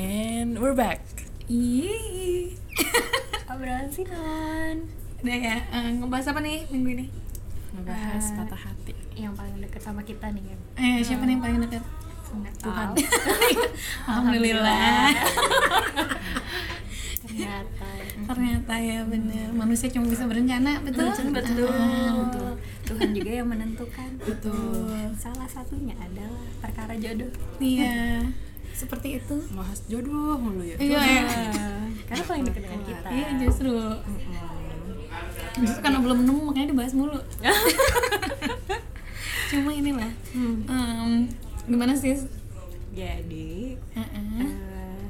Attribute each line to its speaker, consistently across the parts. Speaker 1: And we're back.
Speaker 2: Ih. Obrolan sinon. Udah ya, eh, ngebahas apa nih minggu ini?
Speaker 1: Ngebahas
Speaker 2: Ah.
Speaker 1: patah hati.
Speaker 3: yang paling deket sama kita nih kan
Speaker 2: Eh, siapa nih yang paling dekat?
Speaker 3: nggak
Speaker 2: Tuhan.
Speaker 3: tahu
Speaker 2: Alhamdulillah.
Speaker 3: ternyata
Speaker 2: Ternyata ya bener manusia cuma bisa berencana, betul?
Speaker 3: betul
Speaker 2: Ah,
Speaker 3: betul Tuhan juga yang menentukan
Speaker 2: Betul.
Speaker 3: salah satunya adalah perkara jodoh
Speaker 2: Iya. Seperti itu.
Speaker 1: Bahas jodoh mulu ya.
Speaker 2: Iya. ya.
Speaker 3: karena paling dekat dengan kita
Speaker 2: Iya, justru. Justru karena belum nemu makanya dibahas mulu. Cuma inilah.
Speaker 3: Hmm.
Speaker 2: Em, gimana sih?
Speaker 3: jadi
Speaker 2: Heeh.
Speaker 3: eh,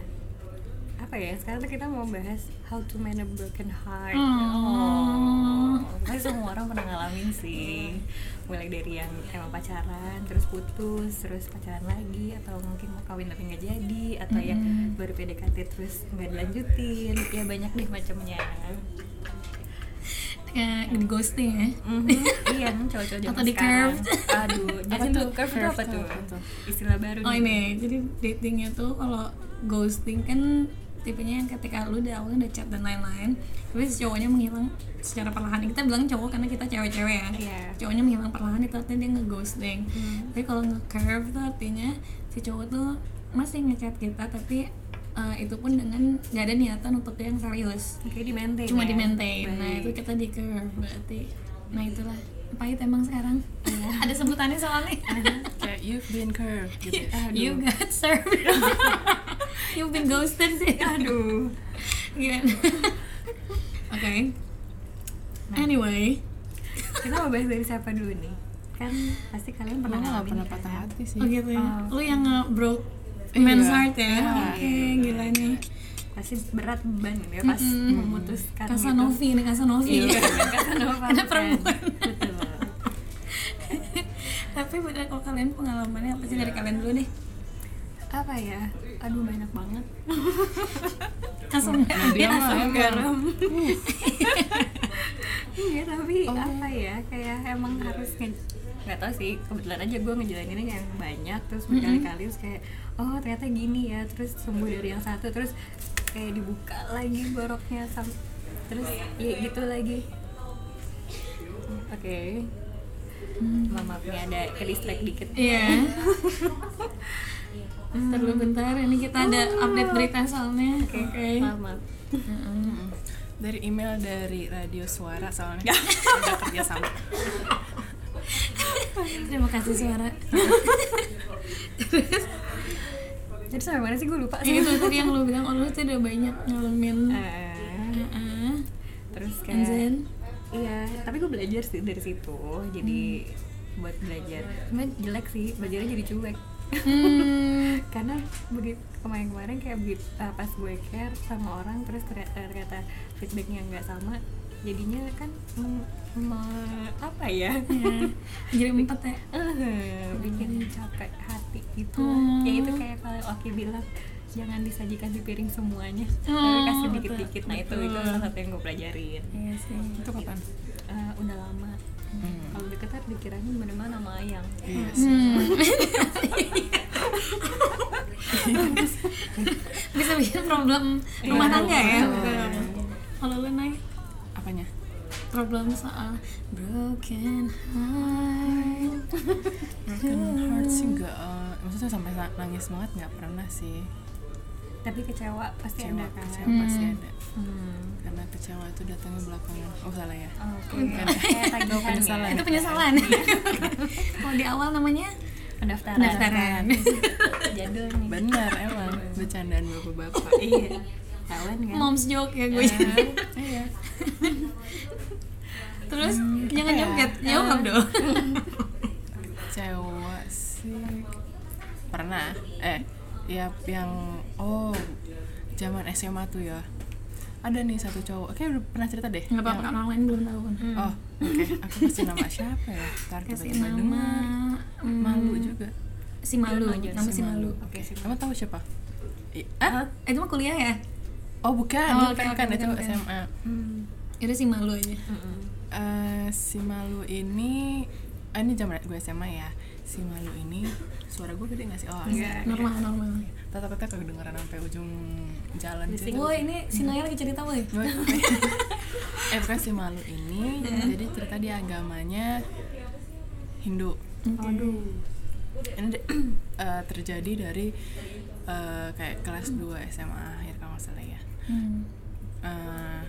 Speaker 3: apa ya sekarang tuh kita mau bahas how to man a broken heart
Speaker 2: Oh.
Speaker 3: pasti semua orang pernah ngalamin sih mulai dari yang emang pacaran terus putus terus pacaran lagi atau mungkin mau kawin tapi nggak jadi atau yang
Speaker 2: Hmm.
Speaker 3: baru PDKT terus nggak dilanjutin ya banyak deh macamnya
Speaker 2: Kayak di ghosting ya.
Speaker 3: Mhm, iya cowok-cowok zaman
Speaker 2: Atau di
Speaker 3: sekarang.
Speaker 2: curved.
Speaker 3: aduh jelasin dulu curve itu apa tuh istilah baru
Speaker 2: Oh
Speaker 3: nih.
Speaker 2: ini, jadi datingnya tuh kalau ghosting kan tipenya yang ketika lu udah awalnya udah chat dan lain-lain tapi si cowoknya menghilang secara perlahan kita bilang cowok karena kita cewek-cewek ya
Speaker 3: Iya.
Speaker 2: cowoknya menghilang perlahan itu artinya dia nge-ghosting tapi kalau nge-curve tuh artinya si cowok tuh masih ngechat kita tapi eh, itu pun dengan gak ada niatan untuk yang serius
Speaker 3: Oke, di maintain
Speaker 2: cuma
Speaker 3: ya.
Speaker 2: di maintain nah
Speaker 3: Baik.
Speaker 2: itu kita di curve berarti nah itulah pahit emang sekarang
Speaker 3: Iya.
Speaker 2: ada sebutannya soalnya
Speaker 1: Kayak you've been curved gitu. ya.
Speaker 3: Aduh.
Speaker 2: you got served you've been ghosted sih
Speaker 3: aduh
Speaker 2: Gimana? oke anyway
Speaker 3: kita mau bahas dari siapa dulu nih kan pasti kalian
Speaker 1: Pernah
Speaker 3: pernah
Speaker 1: nggak
Speaker 3: ngalamin
Speaker 1: pernah
Speaker 3: kan?
Speaker 1: patah hati sih?
Speaker 2: oh gitu ya
Speaker 3: Oh.
Speaker 2: lu yang nge broke man's
Speaker 1: Iya.
Speaker 2: heart ya
Speaker 1: Iya.
Speaker 2: oke gila nih
Speaker 3: pasti berat beban ya pas
Speaker 2: Mm-mm.
Speaker 3: memutuskan
Speaker 2: Kasanovi ini Kasanovi
Speaker 3: gitu. iya Casanova
Speaker 2: Karena
Speaker 3: bukan.
Speaker 2: perempuan.
Speaker 3: betul
Speaker 2: tapi bener kalau kalian pengalamannya apa sih dari kalian dulu deh
Speaker 3: apa ya aduh banyak banget
Speaker 2: langsung dia
Speaker 1: mah
Speaker 2: langsung
Speaker 1: emang.
Speaker 2: garam
Speaker 3: iya tapi apa ya kayak emang harus nge nggak tahu sih kebetulan aja gue ngejalaninnya yang banyak terus berkali-kali terus kayak oh ternyata gini ya terus sembuh dari yang satu terus kayak dibuka lagi boroknya sam- terus ya gitu lagi oke mama punya ada ke distract dikit
Speaker 2: Iya. Ntar dulu bentar, ini kita ada update berita soalnya. Oh. Oke.
Speaker 3: maaf maaf
Speaker 2: Mm-mm.
Speaker 1: Dari email dari radio suara
Speaker 2: Iya.
Speaker 1: soalnya ada kerja sama.
Speaker 2: Terima kasih suara.
Speaker 3: jadi sampai mana sih gue lupa
Speaker 2: Ya
Speaker 3: sih
Speaker 2: itu tadi yang lu bilang, oh lu tuh udah banyak ngalamin.
Speaker 3: Eh,
Speaker 2: Heeh.
Speaker 3: terus
Speaker 2: And then,
Speaker 3: kayak Iya, tapi gue belajar sih dari situ. Jadi buat belajar. Cuman jelek sih, belajarnya jadi cuek.
Speaker 2: hmm,
Speaker 3: Karena begitu kemarin-kemarin kayak begitu, eh, pas gue care sama orang terus ternyata, eh, ternyata feedbacknya nggak sama, jadinya kan mm, me- apa ya?
Speaker 2: ya, jadi empat ya.
Speaker 3: Eh, bikin capek hati gitu.
Speaker 2: Hmm.
Speaker 3: Ya itu kayak kalau Oki bilang jangan disajikan di piring semuanya, tapi
Speaker 2: Hmm,
Speaker 3: kasih
Speaker 2: betul,
Speaker 3: dikit-dikit. Nah itu itu
Speaker 2: betul.
Speaker 3: salah satu yang gue pelajarin.
Speaker 2: Iya sih.
Speaker 1: Itu kapan?
Speaker 3: Eh, udah lama kalau deketan dikiranya bener-bener nama ayang
Speaker 1: Iya sih.
Speaker 2: Hmm. bisa bikin problem rumah
Speaker 3: Iya,
Speaker 2: tangga ya.
Speaker 3: betul.
Speaker 2: Kalau lu naik
Speaker 1: Apanya?
Speaker 2: problem soal broken heart.
Speaker 1: Broken heart sih nggak. eh, maksudnya sampai sa- nangis banget nggak pernah sih.
Speaker 3: tapi kecewa pasti
Speaker 1: Kecewa,
Speaker 3: ada kan
Speaker 1: kecewa pasti
Speaker 2: Hmm.
Speaker 1: ada. Karena kecewa itu datangnya belakangan. Oh salah ya.
Speaker 3: Oh, oke
Speaker 1: Bukan.
Speaker 3: kayak tagihan
Speaker 1: penyesalan.
Speaker 3: ya
Speaker 2: Itu penyesalan. Kalau di awal namanya
Speaker 3: pendaftaran
Speaker 2: pendaftaran.
Speaker 3: jadul nih
Speaker 1: Benar emang bercandaan bapak-bapak.
Speaker 3: iya kawan kan
Speaker 2: Moms joke ya gue.
Speaker 1: Iya.
Speaker 2: Terus jangan
Speaker 1: apa ya?
Speaker 2: joget, jawab dong.
Speaker 1: Kecewa sih pernah eh ya yang oh zaman SMA tuh ya ada nih satu cowok kayak udah pernah cerita deh
Speaker 2: Enggak apa-apa,
Speaker 1: Yang-
Speaker 2: orang lain belum tahu kan.
Speaker 1: oh oke aku kasih nama siapa ya ntar
Speaker 2: Kasih
Speaker 1: tiba-tiba
Speaker 2: nama
Speaker 1: dengar.
Speaker 2: hmm,
Speaker 1: malu juga Iya,
Speaker 2: Si Malu,
Speaker 3: Jono, Jono.
Speaker 2: nama si Malu.
Speaker 1: oke kamu tahu siapa I- ah
Speaker 2: Eh, itu mah kuliah ya?
Speaker 1: oh bukan
Speaker 2: Oh, oke,
Speaker 1: bukan
Speaker 2: oke,
Speaker 1: bukan itu
Speaker 2: bukan, bukan.
Speaker 1: SMA
Speaker 3: Hmm.
Speaker 2: Yaudah si Malu aja.
Speaker 3: Mm-mm.
Speaker 1: Eh, si malu ini ah, ini zaman eh, gue SMA ya si malu ini suara gue gede gak sih oh
Speaker 3: Enggak.
Speaker 2: normal normal
Speaker 1: tetap tetap kedengeran sampai ujung jalan sih
Speaker 2: woi ini si Naya lagi cerita woi
Speaker 1: eh bukan si malu ini jadi cerita dia agamanya Hindu
Speaker 3: Aduh.
Speaker 1: ini de- eh, terjadi dari eh, kayak kelas 2 SMA akhir kalau nggak salah ya
Speaker 2: Hmm.
Speaker 1: Eh,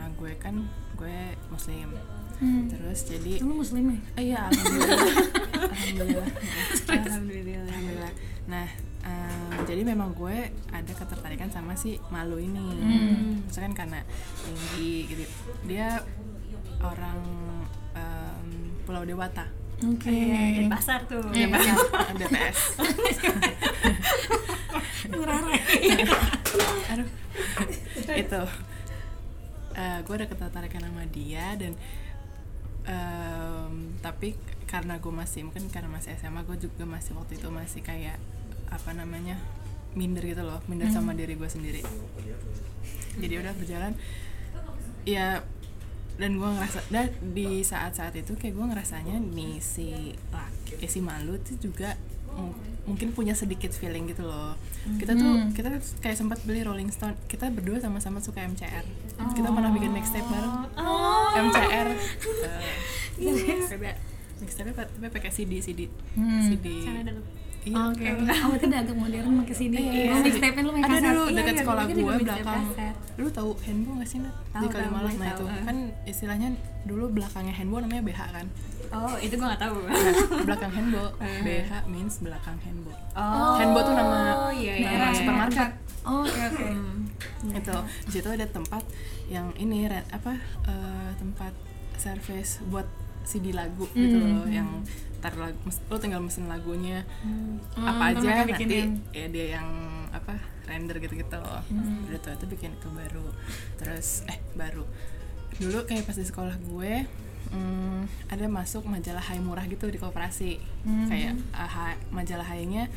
Speaker 1: nah gue kan gue muslim
Speaker 2: Hmm.
Speaker 1: terus jadi
Speaker 2: lu muslim ya
Speaker 1: Eh, iya alhamdulillah alhamdulillah
Speaker 3: Alhamdulillah.
Speaker 1: alhamdulillah nah eh, jadi memang gue ada ketertarikan sama si malu ini
Speaker 2: Hmm.
Speaker 1: Maksudnya kan karena tinggi gitu dia orang em, Pulau Dewata
Speaker 2: oke
Speaker 3: Di pasar tuh.
Speaker 2: Iya,
Speaker 3: Iya.
Speaker 2: Pasar.
Speaker 1: DPS
Speaker 2: ngerara
Speaker 1: aduh itu Eh, gue ada ketertarikan sama dia dan em, tapi karena gue masih mungkin karena masih SMA gue juga masih waktu itu masih kayak apa namanya minder gitu loh minder sama diri gue sendiri jadi udah berjalan ya dan gue ngerasa dan di saat-saat itu kayak gue ngerasanya nih si laki eh, si malu tuh juga mung- mungkin punya sedikit feeling gitu loh kita tuh kita kayak sempat beli Rolling Stone kita berdua sama-sama suka MCR kita pernah bikin mixtape bareng
Speaker 2: Oh.
Speaker 1: MCR Eh,
Speaker 3: Coba.
Speaker 1: mixtape apa- tapi pakai CD CD
Speaker 2: Hmm.
Speaker 1: CD
Speaker 3: Sana dulu.
Speaker 1: Iya.
Speaker 2: oke oh itu udah agak modern pakai CD
Speaker 1: Iya,
Speaker 2: oh
Speaker 1: CD.
Speaker 2: mixtape lu main
Speaker 1: ada
Speaker 2: kaset
Speaker 1: dulu
Speaker 3: Iya,
Speaker 1: dekat
Speaker 3: iya,
Speaker 1: sekolah
Speaker 3: dulu kita
Speaker 1: gue
Speaker 3: juga
Speaker 1: belakang
Speaker 3: mixtape kaset.
Speaker 1: lu tahu handball nggak sih Nat?
Speaker 3: Tahu,
Speaker 1: di
Speaker 3: tahu,
Speaker 1: Kalimalang
Speaker 3: gue
Speaker 1: nah itu
Speaker 3: tahu, ah.
Speaker 1: kan istilahnya dulu belakangnya handball namanya BH kan
Speaker 3: Oh, itu gua nggak tahu.
Speaker 1: Nah, belakang handball
Speaker 3: Ah.
Speaker 1: BH means belakang handball
Speaker 3: Oh.
Speaker 1: Handball tuh nama
Speaker 3: Oh, iya, iya,
Speaker 1: nama
Speaker 3: iya.
Speaker 1: supermarket Hmm.
Speaker 2: oh oke oke
Speaker 1: itu Gitu. di situ ada tempat yang ini re- apa eh, tempat service buat CD lagu gitu
Speaker 3: Hmm.
Speaker 1: loh yang tar lagu mes- lo tinggal mesin lagunya
Speaker 3: Mm.
Speaker 1: apa
Speaker 2: Hmm,
Speaker 1: aja
Speaker 2: mereka
Speaker 1: nanti
Speaker 2: bikinin.
Speaker 1: ya dia yang apa render gitu-gitu loh
Speaker 2: Hmm.
Speaker 1: udah tuh itu bikin itu baru terus eh baru dulu kayak pas di sekolah gue hmm, ada masuk majalah Hai murah gitu di koperasi
Speaker 2: Hmm.
Speaker 1: kayak ah, Hai- majalah Hai-nya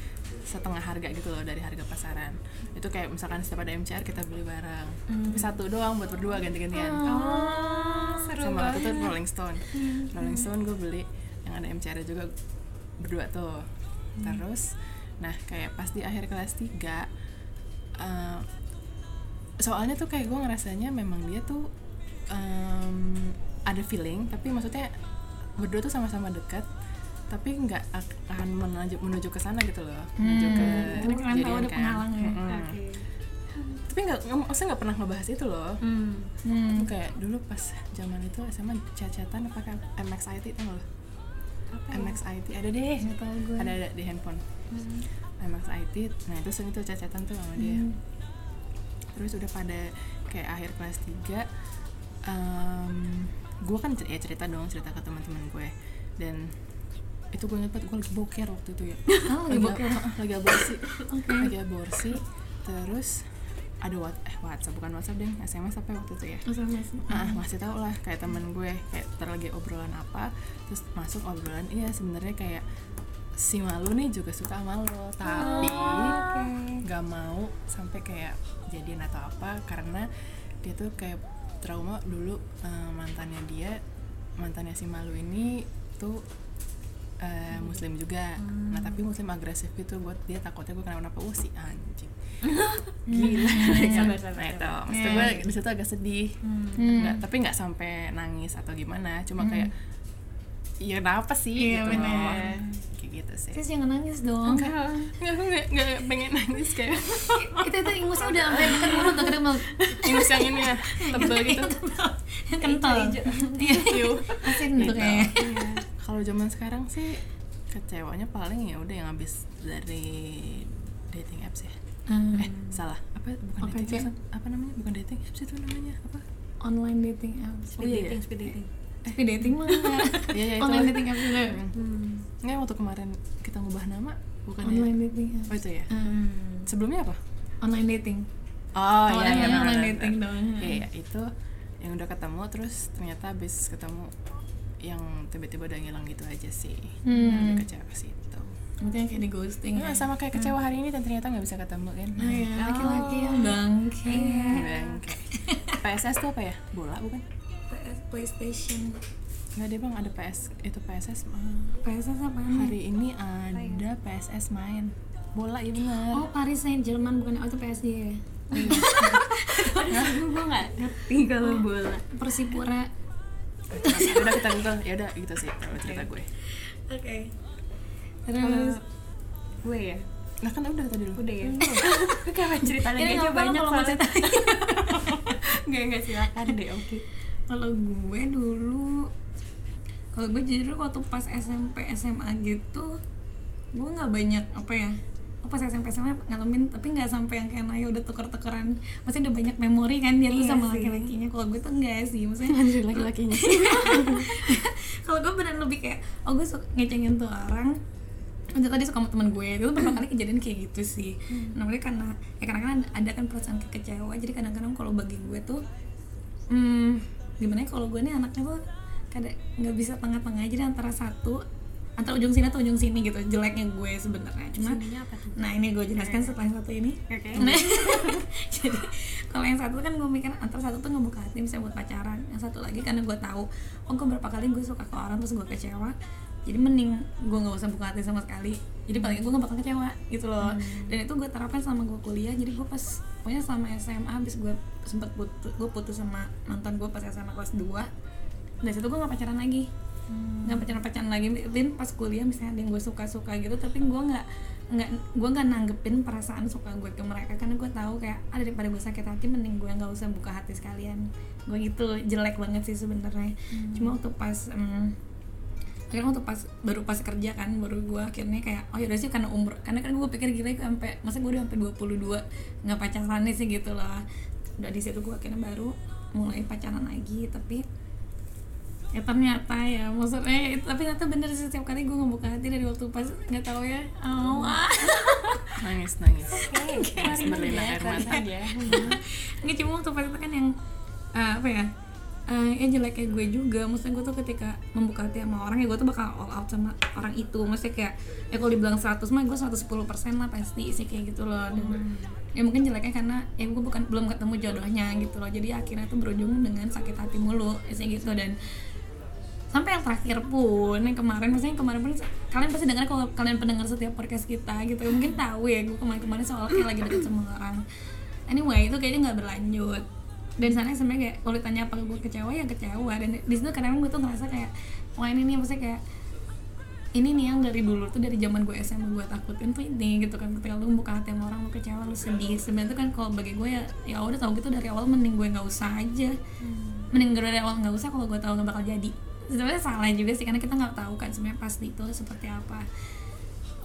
Speaker 1: setengah harga gitu loh dari harga pasaran itu kayak misalkan setiap ada MCR kita beli barang tapi
Speaker 2: Hmm.
Speaker 1: satu doang buat berdua ganti-gantian
Speaker 2: Ah,
Speaker 3: Oh, seru
Speaker 1: sama waktu itu
Speaker 3: banget.
Speaker 1: Rolling Stone
Speaker 2: Hmm.
Speaker 1: Rolling Stone gue beli yang ada MCR juga berdua tuh
Speaker 2: Hmm.
Speaker 1: terus nah kayak pas di akhir kelas 3 eh, soalnya tuh kayak gue ngerasanya memang dia tuh em, ada feeling tapi maksudnya berdua tuh sama-sama dekat tapi nggak ak- akan menuju menuju ke sana gitu loh menuju ke
Speaker 2: Jadi Hmm. kalian tahu ada
Speaker 1: kejadian kan.
Speaker 2: penghalang ya?
Speaker 1: Mm-mm.
Speaker 3: Oke.
Speaker 1: tapi nggak nggak- maksudnya nggak pernah ngebahas itu loh
Speaker 3: Hmm.
Speaker 2: Hmm.
Speaker 1: Itu kayak dulu pas zaman itu SMA cacatan pakai MXIT tau gak lo?
Speaker 3: Apa ya?
Speaker 1: MXIT ada deh.
Speaker 2: nggak tahu gue
Speaker 1: Ada ada di handphone.
Speaker 3: Hmm.
Speaker 1: MXIT. Nah, itu sering tuh cacatan tuh sama dia.
Speaker 2: Hmm.
Speaker 1: Terus udah pada kayak akhir kelas 3 gue kan cer- ya cerita dong cerita ke teman-teman gue dan itu gue inget banget gue lagi boker waktu itu ya
Speaker 2: Oh, lagi boker.
Speaker 1: lagi aborsi
Speaker 2: Oke.
Speaker 1: lagi aborsi terus ada what eh WhatsApp bukan WhatsApp deh SMS apa ya waktu itu ya
Speaker 2: SMS.
Speaker 1: ah ngasih tau lah kayak temen gue kayak ntar lagi obrolan apa terus masuk obrolan iya sebenarnya kayak si malu nih juga suka sama lo tapi
Speaker 3: Oh.
Speaker 1: nggak mau sampai kayak jadian atau apa karena dia tuh kayak trauma dulu eh, mantannya dia mantannya si malu ini tuh eh, muslim juga nah tapi
Speaker 3: Hmm.
Speaker 1: muslim agresif gitu buat dia takutnya gue kenapa-napa oh si anjing gila
Speaker 3: Sabar,
Speaker 1: nah
Speaker 3: sabar,
Speaker 1: itu
Speaker 3: sabar.
Speaker 1: maksud gue di situ agak sedih
Speaker 3: Hmm.
Speaker 1: nggak tapi nggak sampai nangis atau gimana cuma kayak ya kenapa sih
Speaker 2: Hmm. Iya,
Speaker 1: gitu
Speaker 2: bener.
Speaker 1: loh. kayak gitu sih
Speaker 2: Terus jangan nangis dong.
Speaker 1: nggak nggak nggak- nggak pengen nangis kayak
Speaker 2: itu itu ingusnya udah sampai dekat mulut tuh ketemu.
Speaker 1: ingus yang ini ya tebel gitu
Speaker 2: Iya. Kental. Iya.
Speaker 1: Iu.
Speaker 2: Asin
Speaker 1: Gitu.
Speaker 2: tuh kayaknya.
Speaker 1: Eh. kalau zaman sekarang sih kecewanya paling ya udah yang habis dari dating apps ya
Speaker 2: Ah,
Speaker 1: eh salah apa bukan
Speaker 2: Apa
Speaker 1: dating
Speaker 2: aja?
Speaker 1: apps apa namanya bukan dating apps itu namanya apa
Speaker 2: online dating apps. Eh,
Speaker 1: Oh, iya,
Speaker 3: Speed dating,
Speaker 1: iya.
Speaker 3: speed dating.
Speaker 2: Speed dating mah.
Speaker 1: Iya, iya, itu.
Speaker 2: Online dating apps juga.
Speaker 3: Hmm.
Speaker 1: nggak waktu kemarin kita ngubah nama bukan ya?
Speaker 2: Online dating
Speaker 1: oh
Speaker 2: apps.
Speaker 1: itu ya
Speaker 2: Ah,
Speaker 1: sebelumnya apa
Speaker 2: Online dating.
Speaker 1: Oh iya, iya,
Speaker 2: Awalnya
Speaker 1: benar,
Speaker 2: namanya kan online
Speaker 1: benar,
Speaker 2: dating
Speaker 1: benar.
Speaker 2: doang.
Speaker 1: Iya, iya, itu yang udah ketemu terus ternyata habis ketemu yang tiba-tiba udah ngilang gitu aja sih. Nah,
Speaker 2: Hmm.
Speaker 1: udah kecewa ke situ.
Speaker 2: Mungkin yang kayak di ghosting. kan.
Speaker 1: Nah, sama kayak kecewa hari ini dan ternyata nggak bisa ketemu kan. Nah,
Speaker 3: Oh,
Speaker 2: Ah, Hmm. iya, laki-laki
Speaker 3: ya.
Speaker 2: yang bangke.
Speaker 3: Iya,
Speaker 1: Bangke. PSS tuh apa ya? Bola bukan?
Speaker 3: PS PlayStation.
Speaker 1: nggak deh bang ada PS itu PSS eh,
Speaker 2: PSS apa
Speaker 1: hari ini ada PSS main bola ya benar
Speaker 2: Oh Paris Saint Germain bukan oh itu PSG ya
Speaker 3: Aduh, gue nggak ngerti kalau Hmm. bola.
Speaker 2: Persipura
Speaker 1: udah kita google ya udah gitu sih kalau
Speaker 2: Iya.
Speaker 1: cerita gue
Speaker 2: Oke
Speaker 3: Kalau Eh,
Speaker 2: Terus
Speaker 3: Hmm. gue ya,
Speaker 1: nah kan udah tadi dulu
Speaker 3: udah ya. Gue kapan cerita lagi
Speaker 2: Ini
Speaker 3: aja
Speaker 2: nggak apa-apa
Speaker 3: banyak
Speaker 2: kalau mau
Speaker 3: soalnya. Nggak nggak silakan deh, oke.
Speaker 2: kalau gue dulu kalau gue jujur waktu pas SMP SMA gitu gue nggak banyak apa ya oh, pas SMP SMA ngalamin tapi nggak sampai yang kayak Naya udah tuker-tukeran maksudnya udah banyak memori kan dia lu
Speaker 3: Iya
Speaker 2: sama
Speaker 3: sih.
Speaker 2: laki-lakinya kalau gue tuh enggak sih maksudnya
Speaker 1: lanjut laki-lakinya
Speaker 2: kalau gue beneran lebih kayak oh gue suka ngecengin tuh orang Udah tadi suka sama temen gue itu pertama kali kejadian kayak gitu sih
Speaker 3: Hmm.
Speaker 2: nah makanya karena ya karena kan ada kan perasaan kekecewa jadi kadang-kadang kalau bagi gue tuh hmm, gimana ya kalau gue nih anaknya tuh kadang nggak bisa tengah-tengah jadi antara satu antara ujung sini atau ujung sini gitu jeleknya gue sebenarnya cuma
Speaker 3: Sininya apa tuh?
Speaker 2: nah ini gue jelaskan setelah yang satu ini
Speaker 3: Oke.
Speaker 2: Nah, jadi kalau yang satu kan gue mikir antara satu tuh ngebuka hati misalnya buat pacaran yang satu lagi karena gue tahu oh gue berapa kali gue suka ke orang terus gue kecewa jadi mending gue nggak usah buka hati sama sekali jadi paling gue gak bakal kecewa gitu loh dan itu gue terapkan sama gue kuliah jadi gue pas pokoknya sama SMA habis gue sempet putus gue putus sama mantan gue pas SMA kelas 2 dan situ gue gak pacaran lagi
Speaker 3: Hmm.
Speaker 2: nggak pacaran-pacaran lagi Lin pas kuliah misalnya ada yang gue suka-suka gitu tapi gue nggak nggak gue nggak nanggepin perasaan suka gue ke mereka karena gue tahu kayak ah, daripada gue sakit hati mending gue nggak usah buka hati sekalian gue gitu jelek banget sih sebenarnya cuma waktu pas em, akhirnya waktu pas baru pas kerja kan baru gue akhirnya kayak oh yaudah sih karena umur karena kan gue pikir gila gue sampai masa gue udah sampai 22 nggak pacaran sih gitu lah udah di situ gue akhirnya baru mulai pacaran lagi tapi ya ternyata ya maksudnya ya itu- tapi ternyata bener sih setiap kali gue ngebuka hati dari waktu pas nggak tahu ya oh,
Speaker 1: nangis nangis
Speaker 3: Oke,
Speaker 1: berlinang air mata.
Speaker 3: ya.
Speaker 2: nggak cuma waktu pas itu kan yang eh, apa ya eh ya jeleknya gue juga maksudnya gue tuh ketika membuka hati sama orang ya gue tuh bakal all out sama orang itu maksudnya kayak ya kalau dibilang 100 mah gue 110 lah pasti sih kayak gitu loh Dan, ya mungkin jeleknya karena ya gue bukan belum ketemu jodohnya gitu loh jadi akhirnya tuh berujung dengan sakit hati mulu sih gitu dan sampai yang terakhir pun yang kemarin maksudnya yang kemarin pun kalian pasti dengar kalau kalian pendengar setiap podcast kita gitu mungkin tahu ya gue kemarin-kemarin soal kayak lagi deket sama orang anyway itu kayaknya nggak berlanjut dan sana sebenarnya kayak kalau ditanya apa gue kecewa ya kecewa dan di situ kadang gue tuh ngerasa kayak wah ini nih maksudnya kayak ini nih yang dari dulu tuh dari zaman gue SMA gue takutin tuh ini gitu kan ketika lu buka hati sama orang lu kecewa lu sedih sebenarnya tuh kan kalau bagi gue ya ya udah tau gitu dari awal mending gue nggak usah aja
Speaker 3: Hmm.
Speaker 2: mending gue dari awal nggak usah kalau gue tahu nggak bakal jadi sebenarnya salah juga sih karena kita nggak tahu kan sebenarnya pasti itu seperti apa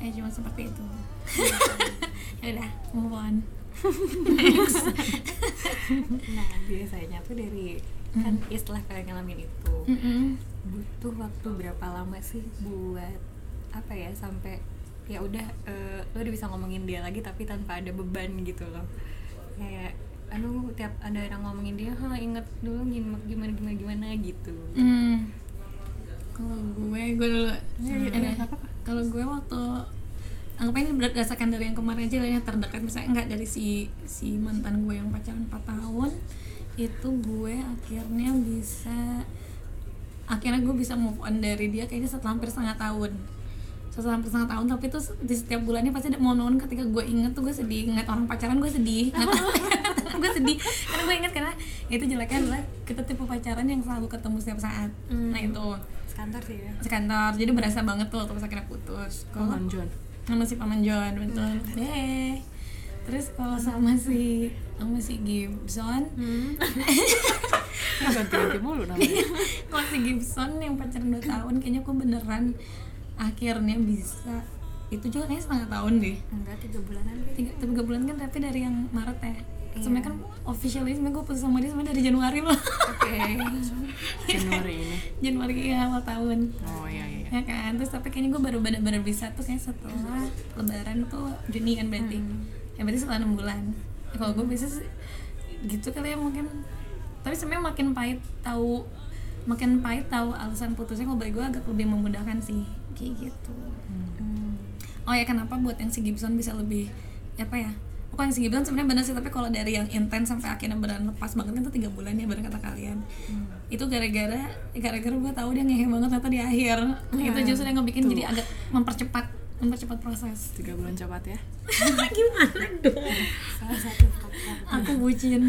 Speaker 2: eh cuma seperti itu ya udah move on
Speaker 3: Nah, biasanya tuh dari kan ya setelah kalian ngalamin itu
Speaker 2: Mm-mm.
Speaker 3: butuh waktu berapa lama sih buat apa ya sampai ya udah eh, lo udah bisa ngomongin dia lagi tapi tanpa ada beban gitu loh kayak aduh tiap ada orang ngomongin dia ha inget dulu gimana gimana gimana gimana gitu
Speaker 2: Hmm. Kalau gue, gue dulu.
Speaker 3: iya,
Speaker 2: Ada.
Speaker 3: iya, nggak apa-apa.
Speaker 2: Kalau gue waktu anggapnya ini berdasarkan dari yang kemarin aja lah, yang terdekat misalnya enggak dari si si mantan gue yang pacaran 4 tahun itu gue akhirnya bisa akhirnya gue bisa move on dari dia kayaknya setelah hampir setengah tahun setelah hampir setengah tahun tapi tuh di setiap bulannya pasti ada momen ketika gue inget tuh gue sedih ngeliat orang pacaran gue sedih Ngeliat- gue sedih karena gue inget karena ya itu jeleknya adalah kita tipe pacaran yang selalu ketemu setiap saat nah itu
Speaker 3: sekantor sih ya
Speaker 2: sekantor jadi berasa banget tuh waktu pas akhirnya putus kalau
Speaker 1: Paman John
Speaker 2: sama si paman John betul deh terus kalau sama si sama si
Speaker 1: kan
Speaker 2: Gibson
Speaker 1: ganti-ganti mulu namanya
Speaker 2: kalau si Gibson yang pacaran 2 tahun kayaknya aku beneran akhirnya bisa itu juga kayaknya setengah tahun deh
Speaker 3: enggak tiga bulanan gitu
Speaker 2: tiga, tiga bulan kan tapi dari yang Maret ya sebenarnya kan officially sebenarnya gue putus sama dia sebenarnya dari Januari loh
Speaker 3: oke
Speaker 1: Januari ini
Speaker 2: Januari ya awal tahun
Speaker 1: oh iya iya
Speaker 2: ya kan terus tapi kayaknya gue baru bener-bener bisa tuh kayak setelah lebaran tuh Juni kan berarti ya berarti setelah enam bulan Ya, kalau gue bisa sih gitu kali ya mungkin tapi sebenarnya makin pahit tahu makin pahit tahu alasan putusnya kalau bagi gue agak lebih memudahkan sih kayak gitu
Speaker 1: Hmm.
Speaker 2: oh ya kenapa buat yang si Gibson bisa lebih apa ya oke Wah yang Sigi bilang sebenarnya benar sih tapi kalau dari yang intens sampai akhirnya beneran lepas banget kan tuh tiga bulan ya bener kata kalian itu gara-gara gara-gara gue tahu dia ngehe banget ternyata di akhir itu justru yang ngebikin jadi agak mempercepat mempercepat proses
Speaker 1: tiga bulan cepat ya
Speaker 2: gimana dong
Speaker 3: salah satu faktor
Speaker 2: aku bucin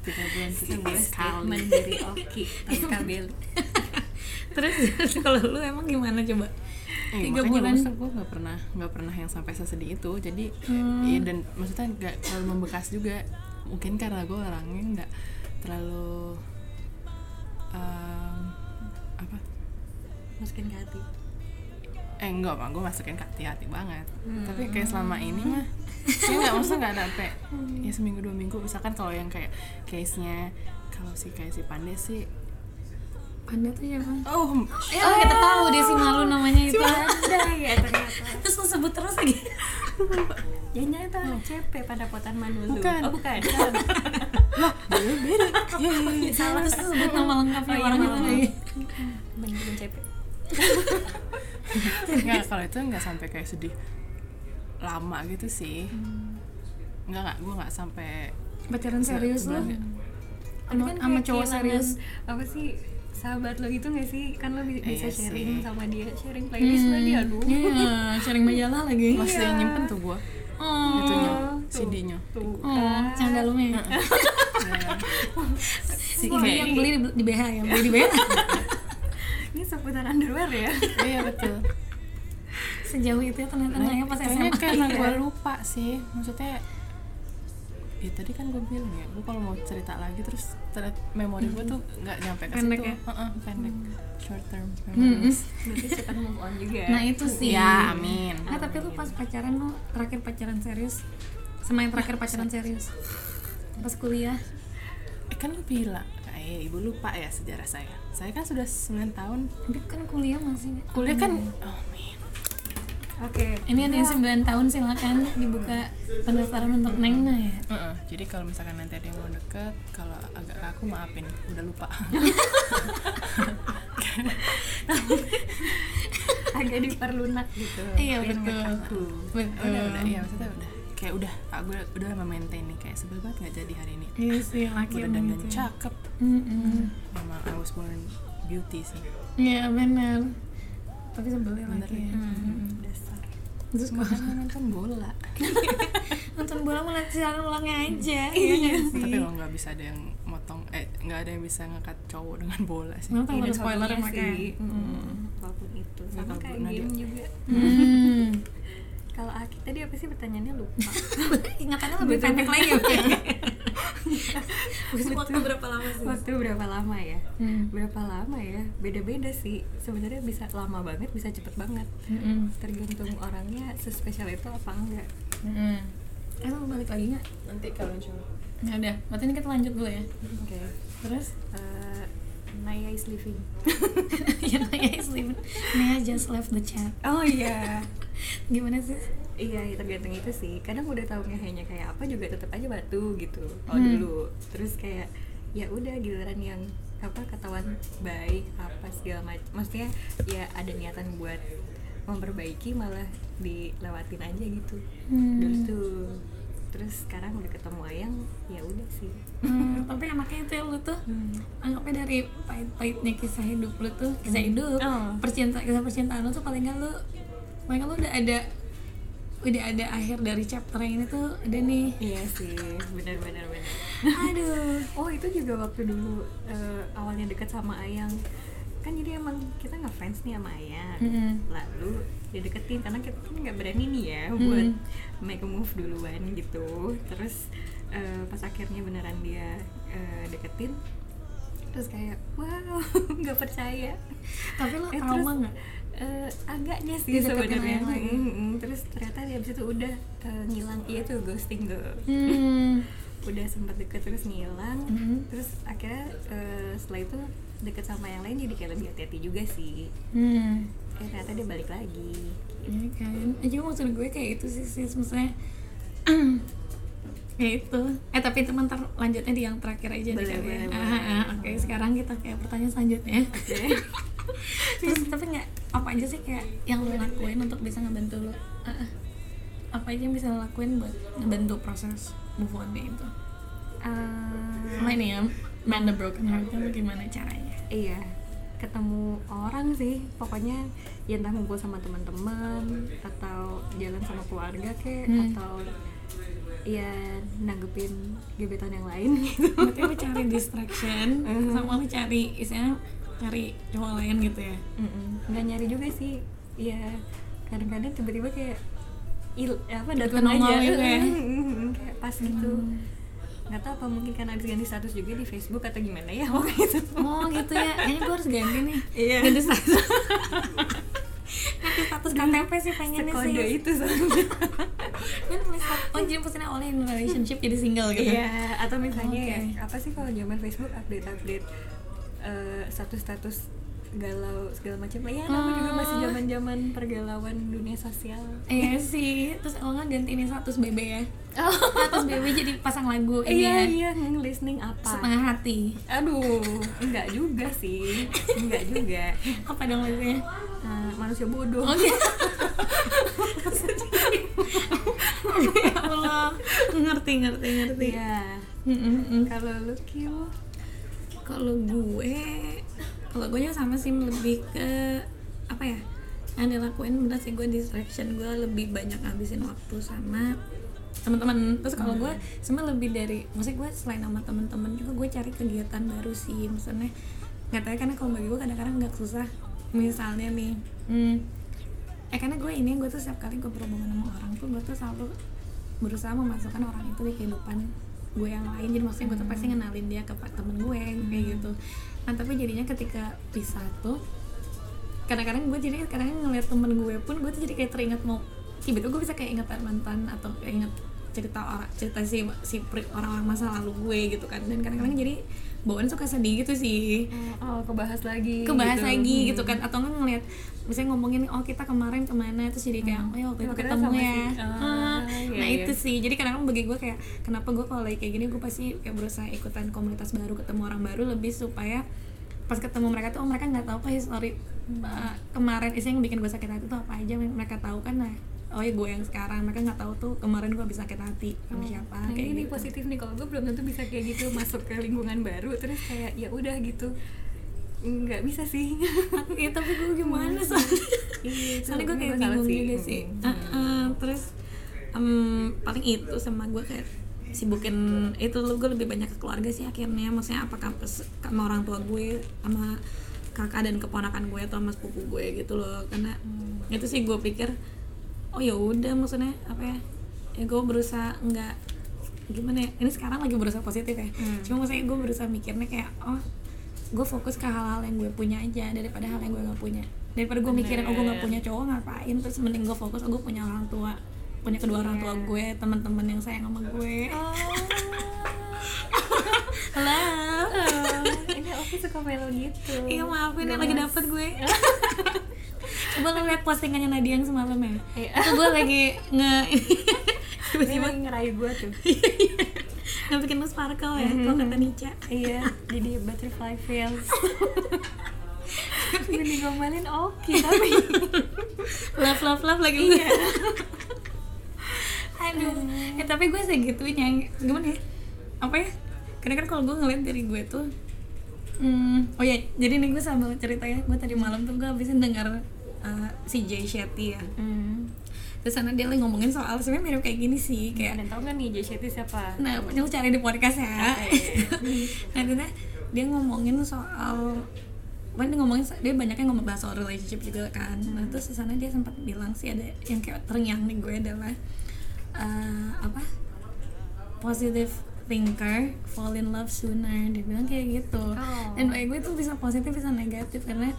Speaker 1: tiga bulan kita
Speaker 3: sebuah
Speaker 1: boleh sekali
Speaker 3: statement dari Oki Tanpa Beli
Speaker 2: terus kalau lu emang gimana coba
Speaker 1: Eh,
Speaker 2: Tiga
Speaker 1: makanya
Speaker 2: bulan.
Speaker 1: gue nggak pernah nggak pernah yang sampai sesedih itu jadi
Speaker 2: Hmm,
Speaker 1: iya dan maksudnya nggak terlalu membekas juga mungkin karena gue orangnya nggak terlalu em, apa
Speaker 3: masukin ke hati
Speaker 1: eh enggak mah gue masukin ke hati-hati banget tapi kayak selama ini mah ya nggak maksudnya nggak sampai ya seminggu dua minggu misalkan kalau yang kayak case nya kalau si kayak si Pandey sih
Speaker 2: Panda tuh siapa?
Speaker 1: oh
Speaker 2: Ya, oh, kita tahu dia si malu namanya itu.
Speaker 3: ada ya ternyata
Speaker 2: Terus lu sebut terus lagi.
Speaker 3: jangan itu CP pada potan manulu
Speaker 1: Bukan.
Speaker 3: oh bukan
Speaker 1: beda beda ya, ya, ya.
Speaker 2: Salah Iya, terus lu sebut nama lengkapnya
Speaker 3: Oh, iya,
Speaker 2: orang itu
Speaker 3: nama
Speaker 2: lagi.
Speaker 3: mending CP
Speaker 1: nggak kalau itu nggak sampai kayak sedih lama gitu sih
Speaker 2: Hmm.
Speaker 1: nggak nggak gue nggak sampai
Speaker 2: Pacaran serius lu?
Speaker 1: sebulan ya.
Speaker 2: Sama
Speaker 3: Kan
Speaker 2: sama
Speaker 3: kayak
Speaker 2: cowok
Speaker 3: kehilangan,
Speaker 2: serius.
Speaker 3: apa sih sahabat lo gitu gak sih kan lo bi-
Speaker 1: Eh,
Speaker 3: bisa
Speaker 1: iya
Speaker 3: sharing
Speaker 1: sih.
Speaker 3: sama dia sharing playlist sama dia aduh
Speaker 2: Hmm. Iya, sharing majalah lagi.
Speaker 1: masih nyimpen tuh gue
Speaker 2: Oh.
Speaker 1: itunya
Speaker 3: tuh.
Speaker 1: CD-nya
Speaker 3: tuh
Speaker 2: Oh, canda lu ya. Si
Speaker 1: Wah, iya.
Speaker 2: ini yang beli di, di BH ya, beli di BH.
Speaker 3: ini seputar underwear ya
Speaker 1: iya betul
Speaker 2: Sejauh itu ya ternyata
Speaker 1: Nah,
Speaker 2: nanya pas
Speaker 1: kayaknya
Speaker 2: SMA.
Speaker 1: karena gue lupa sih maksudnya ya tadi kan gue bilang ya gue kalau mau cerita lagi terus ternyata memori gue tuh nggak nyampe ke
Speaker 2: Hmm. Pendek
Speaker 1: situ
Speaker 2: ya?
Speaker 1: Heeh, pendek short term
Speaker 2: Mm-mm.
Speaker 1: memories
Speaker 3: berarti cepat move on juga
Speaker 2: Nah, itu sih.
Speaker 1: ya amin
Speaker 2: Nah, tapi lu pas pacaran lu terakhir pacaran serius sama yang terakhir pacaran serius pas kuliah
Speaker 1: eh, kan gue bilang eh ibu lupa ya sejarah saya saya kan sudah 9 tahun
Speaker 2: tapi kan kuliah masih
Speaker 1: kuliah kan Iya. oh man
Speaker 3: oke
Speaker 2: ini ada yang 9 tahun silakan dibuka pendaftaran untuk Neng Nah ya
Speaker 1: Heeh, jadi kalau misalkan nanti ada yang mau deket kalau agak kaku maafin udah lupa
Speaker 3: agak diperlunak gitu
Speaker 2: Iya,
Speaker 3: Tapi
Speaker 2: betul.
Speaker 3: nggak kaku.
Speaker 2: betul
Speaker 1: udah udah iya maksudnya udah kayak udah pak gue udah memaintain nih kayak sebel banget nggak jadi hari ini
Speaker 2: iya sih laki
Speaker 1: udah
Speaker 2: emang
Speaker 1: dandan
Speaker 2: gitu ya.
Speaker 1: cakep
Speaker 2: Mm-mm.
Speaker 1: memang I was born beauty sih
Speaker 2: iya benar tapi sebelnya
Speaker 1: Bener
Speaker 2: laki
Speaker 1: ya.
Speaker 2: ya
Speaker 3: dasar
Speaker 2: terus gua
Speaker 1: makanya nonton bola
Speaker 2: nonton bola mulai siaran ulang aja iya nggak
Speaker 1: tapi
Speaker 2: sih
Speaker 1: lo nggak bisa ada yang motong eh nggak ada yang bisa ngekat cowok dengan bola sih
Speaker 2: nonton ada
Speaker 3: Ini
Speaker 2: ya? spoiler
Speaker 3: hobinya
Speaker 2: makanya
Speaker 3: Iya, sih. apapun itu sama
Speaker 1: Nggak
Speaker 3: kayak
Speaker 1: guna
Speaker 3: game
Speaker 1: dia.
Speaker 3: juga
Speaker 2: Hmm.
Speaker 3: kalau Aki tadi apa sih pertanyaannya lupa
Speaker 2: Hmm. ingatannya lebih
Speaker 3: Betul.
Speaker 2: pendek lagi oke waktu berapa lama sih
Speaker 3: waktu berapa lama ya
Speaker 2: Hmm.
Speaker 3: berapa lama ya beda-beda sih sebenarnya bisa lama banget bisa cepet banget
Speaker 2: Mm-mm.
Speaker 3: tergantung orangnya sespesial itu apa enggak
Speaker 2: Mm-mm. Eh, lu balik lagi nggak?
Speaker 1: nanti kalau cowok
Speaker 2: Nggak ada. Berarti ini kita lanjut dulu ya.
Speaker 3: oke
Speaker 2: Terus?
Speaker 3: Eh, Naya is living
Speaker 2: ya
Speaker 3: Iya,
Speaker 2: Naya is leaving. Naya just left the chat.
Speaker 3: oh iya
Speaker 2: Gimana sih?
Speaker 3: iya tergantung itu sih kadang udah tahu ngehenya kayak apa juga tetap aja batu gitu oh
Speaker 2: Hmm.
Speaker 3: dulu terus kayak ya udah giliran yang apa ketahuan baik apa segala macam maksudnya ya ada niatan buat memperbaiki malah dilewatin aja gitu
Speaker 2: Hmm.
Speaker 3: dulu tuh terus sekarang udah ketemu ayang ya udah sih
Speaker 2: Hmm, tapi enaknya itu ya, lu tuh anggapnya dari pahit-pahitnya kisah hidup lu tuh kisah hidup
Speaker 3: Oh.
Speaker 2: percintaan kisah percintaan lu tuh paling nggak lu paling nggak lu udah ada udah ada akhir dari chapter yang ini tuh ada nih
Speaker 3: iya sih benar benar benar
Speaker 2: aduh
Speaker 3: oh itu juga waktu dulu eh, awalnya deket sama ayang kan jadi emang kita ngefans nih sama ayang
Speaker 2: Mm-mm.
Speaker 3: lalu dideketin karena kita kan nggak berani nih ya
Speaker 2: Mm.
Speaker 3: buat make a move duluan gitu terus eh, pas akhirnya beneran dia eh, deketin terus kayak wow nggak percaya
Speaker 2: tapi lu
Speaker 3: Eh,
Speaker 2: trauma
Speaker 3: terus-
Speaker 2: nggak
Speaker 3: Eh, agaknya sih
Speaker 2: Dideketin
Speaker 3: sebenarnya
Speaker 2: orang lain.
Speaker 3: Mm, mm. terus ternyata dia abis itu udah eh, ngilang iya tuh ghosting girl
Speaker 2: hmm.
Speaker 3: udah sempat deket terus ngilang
Speaker 2: Mhm.
Speaker 3: terus akhirnya eh, setelah itu deket sama yang lain jadi kayak lebih hati-hati juga sih
Speaker 2: hmm.
Speaker 3: eh ternyata dia balik lagi
Speaker 2: Iya kan, Eh, cuma maksud gue kayak itu sih sis, maksudnya ya itu eh tapi teman ntar lanjutnya di yang terakhir aja deh
Speaker 3: Boleh,
Speaker 2: kali ya.
Speaker 3: boleh,
Speaker 2: Ah,
Speaker 3: boleh.
Speaker 2: ah, oke sekarang kita kayak pertanyaan selanjutnya
Speaker 3: Oke.
Speaker 2: terus tapi nggak apa aja sih kayak yang lo lakuin untuk bisa ngebantu lo Ah, ah. apa aja yang bisa lo lakuin buat ngebantu proses move on nya itu
Speaker 3: Eh,
Speaker 2: sama ini ya man the broken heart itu gimana caranya
Speaker 3: iya ketemu orang sih pokoknya ya entah ngumpul sama teman-teman atau jalan sama keluarga kek
Speaker 2: Hmm.
Speaker 3: atau ya nanggepin gebetan yang lain gitu
Speaker 2: berarti lo cari distraction
Speaker 3: Mhm.
Speaker 2: sama lo cari istilahnya cari cowok lain gitu ya
Speaker 3: Mm-mm. nggak nyari juga sih ya kadang-kadang tiba-tiba kayak il apa datang
Speaker 2: Nongol
Speaker 3: aja
Speaker 2: gitu ya? Hmm.
Speaker 3: Mm-mm, kayak pas gitu nggak tahu apa mungkin karena habis ganti status juga di Facebook atau gimana ya pokoknya itu
Speaker 2: oh gitu ya kayaknya gue harus ganti nih
Speaker 3: Iya.
Speaker 2: ganti status ganti status KTP sih pengennya sih
Speaker 3: sekode itu soalnya
Speaker 2: kan misal- oh jadi pesannya all in relationship jadi single gitu
Speaker 3: Iya, atau misalnya
Speaker 2: Oke.
Speaker 3: ya apa sih kalau zaman Facebook update-update eh, status-status galau segala macam. Ya, nama juga masih
Speaker 2: Ah.
Speaker 3: zaman-zaman pergalauan dunia sosial.
Speaker 2: Iya sih, terus kalau nggak ganti ini status BB ya Status BB jadi pasang lagu ini
Speaker 3: Iya,
Speaker 2: ya
Speaker 3: iya, hmm, listening apa?
Speaker 2: Setengah hati
Speaker 3: Aduh, enggak juga sih. Enggak juga.
Speaker 2: Apa dong lagunya?
Speaker 3: Eh, manusia bodoh.
Speaker 2: Oh gitu Ya Allah, ngerti, ngerti, ngerti
Speaker 3: Iya.
Speaker 2: Mm, mm, mm.
Speaker 3: Kalau lu Kio,
Speaker 2: Kalau gue, kalau gue nya sama sih lebih ke apa ya? Yang dilakuin bener sih gue distraction gue lebih banyak ngabisin waktu sama teman-teman. Terus kalau gue sebenarnya lebih dari, maksudnya gue selain sama teman-teman juga gue cari kegiatan baru sih, maksudnya nggak tahu ya, karena kalau bagi gue kadang-kadang nggak susah. Misalnya nih, hmm, eh karena gue ini gue tuh setiap kali gue berhubungan sama orang tuh gue tuh selalu berusaha memasukkan orang itu di kehidupan gue yang lain jadi maksudnya gue tuh pasti ngenalin dia ke temen gue kayak gitu nah tapi jadinya ketika pisah tuh kadang-kadang gue jadi kadang ngeliat temen gue pun gue tuh jadi kayak teringat mau tiba-tiba gue bisa kayak ingetan mantan atau kayak inget cerita orang cerita si si pri- orang-orang masa lalu gue gitu kan dan kadang-kadang jadi bawaan suka sedih gitu sih
Speaker 3: oh kebahas lagi.
Speaker 2: kebahas lagi gitu kan atau nggak ngeliat misalnya ngomongin oh kita kemarin kemana terus jadi kayak oh ya waktu itu
Speaker 3: Oh, kita
Speaker 2: ketemu
Speaker 3: sama
Speaker 2: ya
Speaker 3: si- ah,
Speaker 2: Ah,
Speaker 3: iya,
Speaker 2: nah
Speaker 3: iya.
Speaker 2: itu sih jadi kadang bagi gue kayak kenapa gue kalau lagi kayak gini gue pasti kayak berusaha ikutan komunitas baru ketemu orang baru lebih supaya pas ketemu mereka tuh oh, mereka nggak tahu apa history
Speaker 3: Hmm.
Speaker 2: uh, kemarin isinya yang bikin gue sakit hati tuh apa aja yang mereka tahu kan nah oh ya gue yang sekarang mereka nggak tahu tuh kemarin gue habis sakit hati sama siapa
Speaker 3: Nah,
Speaker 2: kayak
Speaker 3: ini
Speaker 2: gitu.
Speaker 3: positif nih kalau gue belum tentu bisa kayak gitu masuk ke lingkungan baru terus kayak ya udah gitu nggak bisa sih
Speaker 2: ya tapi gue gimana soalnya
Speaker 3: Iya, itu
Speaker 2: soalnya gue kayak
Speaker 3: salah
Speaker 2: bingung juga sih
Speaker 3: Mm-mm.
Speaker 2: Heeh, terus em, paling itu sama gue kayak sibukin itu lo gue lebih banyak ke keluarga sih akhirnya maksudnya apa kampus sama orang tua gue sama kakak dan keponakan gue atau sama sepupu gue gitu loh karena
Speaker 3: Mm.
Speaker 2: itu sih gue pikir oh ya udah maksudnya apa ya ya gue berusaha nggak gimana ya ini sekarang lagi berusaha positif ya cuma maksudnya gue berusaha mikirnya kayak oh gue fokus ke hal-hal yang gue punya aja daripada hal yang gue nggak punya daripada gue mikirin oh gue nggak punya cowok ngapain terus mending gue fokus oh gue punya orang tua punya kedua orang tua gue teman-teman yang sayang sama gue halo
Speaker 3: Oh. ini aku suka melo gitu
Speaker 2: iya maafin ya lagi dapet gue coba lo liat postingannya Nadia yang semalam ya
Speaker 3: Iya.
Speaker 2: itu gue lagi nge
Speaker 3: ini
Speaker 2: tiba-tiba
Speaker 3: lagi ngerayu gue tuh
Speaker 2: nge bikin lo sparkle ya kalau kata Nica
Speaker 3: iya jadi butterfly feels Gue digombalin oke tapi
Speaker 2: love love love lagi Iya. aduh eh tapi gue segitunya gimana ya apa ya karena kan kalau gue ngeliat dari gue tuh hmm, oh ya jadi nih gue sambil cerita ya gue tadi malam tuh gue habisin dengar eh, si Jay Shetty ya
Speaker 3: Hmm.
Speaker 2: terus sana dia lagi ngomongin soal sebenarnya mirip kayak gini sih kayak
Speaker 3: dan tau gak nih Joe Shetty siapa?
Speaker 2: Nah, lu cari di podcast ya.
Speaker 3: Oke.
Speaker 2: nah, dia, dia ngomongin soal Wah, dia ngomongin dia banyaknya ngomong bahas soal relationship juga kan. Nah, terus di sana dia sempat bilang sih ada yang kayak terngiang di gue adalah eh, apa? Positive thinker, fall in love sooner. Dia bilang kayak gitu.
Speaker 3: Oh.
Speaker 2: Dan bagi gue tuh bisa positif bisa negatif karena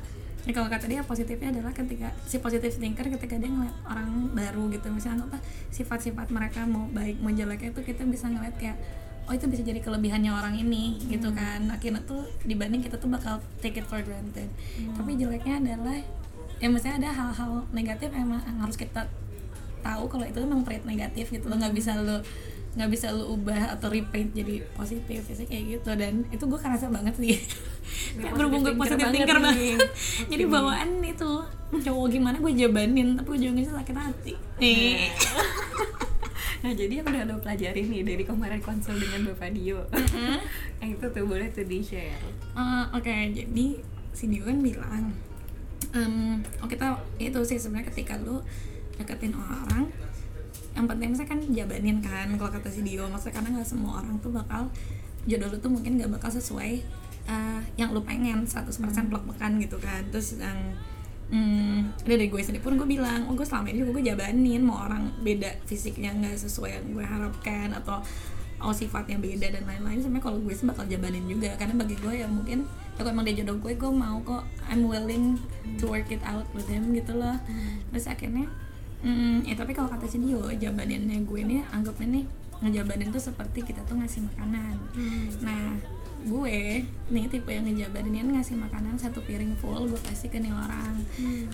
Speaker 2: ya kalau kata dia positifnya adalah ketika si positive thinker ketika dia ngeliat orang baru gitu misalnya apa sifat-sifat mereka mau baik mau jeleknya itu kita bisa ngeliat kayak oh itu bisa jadi kelebihannya orang ini gitu kan akhirnya tuh dibanding kita tuh bakal take it for granted tapi jeleknya adalah ya misalnya ada hal-hal negatif emang yang harus kita tahu kalau itu memang trait negatif gitu lo nggak bisa lo nggak bisa lo ubah atau repaint jadi positif biasanya kayak gitu dan itu gue kerasa banget sih kayak berhubung gue positif
Speaker 3: positive
Speaker 2: thinker
Speaker 3: thinker banget
Speaker 2: banget jadi
Speaker 3: Iya.
Speaker 2: bawaan itu cowok gimana gue jabanin tapi ujungnya sakit hati nih
Speaker 3: Nah jadi yang udah lo pelajari nih dari kemarin konsul dengan Bapak Dio Yang itu tuh boleh tuh di share
Speaker 2: Eh, Oke, jadi si Dio kan bilang, em, oh kita itu sih sebenarnya ketika lu deketin orang, yang penting misalnya kan jabanin kan kalau kata si Dio, maksudnya karena nggak semua orang tuh bakal jodoh lu tuh mungkin nggak bakal sesuai eh, yang lu pengen 100% plek-plekan gitu kan. Terus yang Hmm, dari gue sendiri pun gue bilang, oh gue selama ini juga gue jabanin mau orang beda fisiknya nggak sesuai yang gue harapkan atau oh sifatnya beda dan lain-lain sebenarnya kalau gue sih bakal jabanin juga karena bagi gue ya mungkin ya kalau emang dia jodoh gue gue mau kok I'm willing to work it out with him gitu loh terus akhirnya mm, ya tapi kalau kata si Dio jabaninnya gue ini anggapnya nih ngejabanin tuh seperti kita tuh ngasih makanan nah gue nih tipe yang ngejabanin kan ngasih makanan satu piring full gue kasih ke nih orang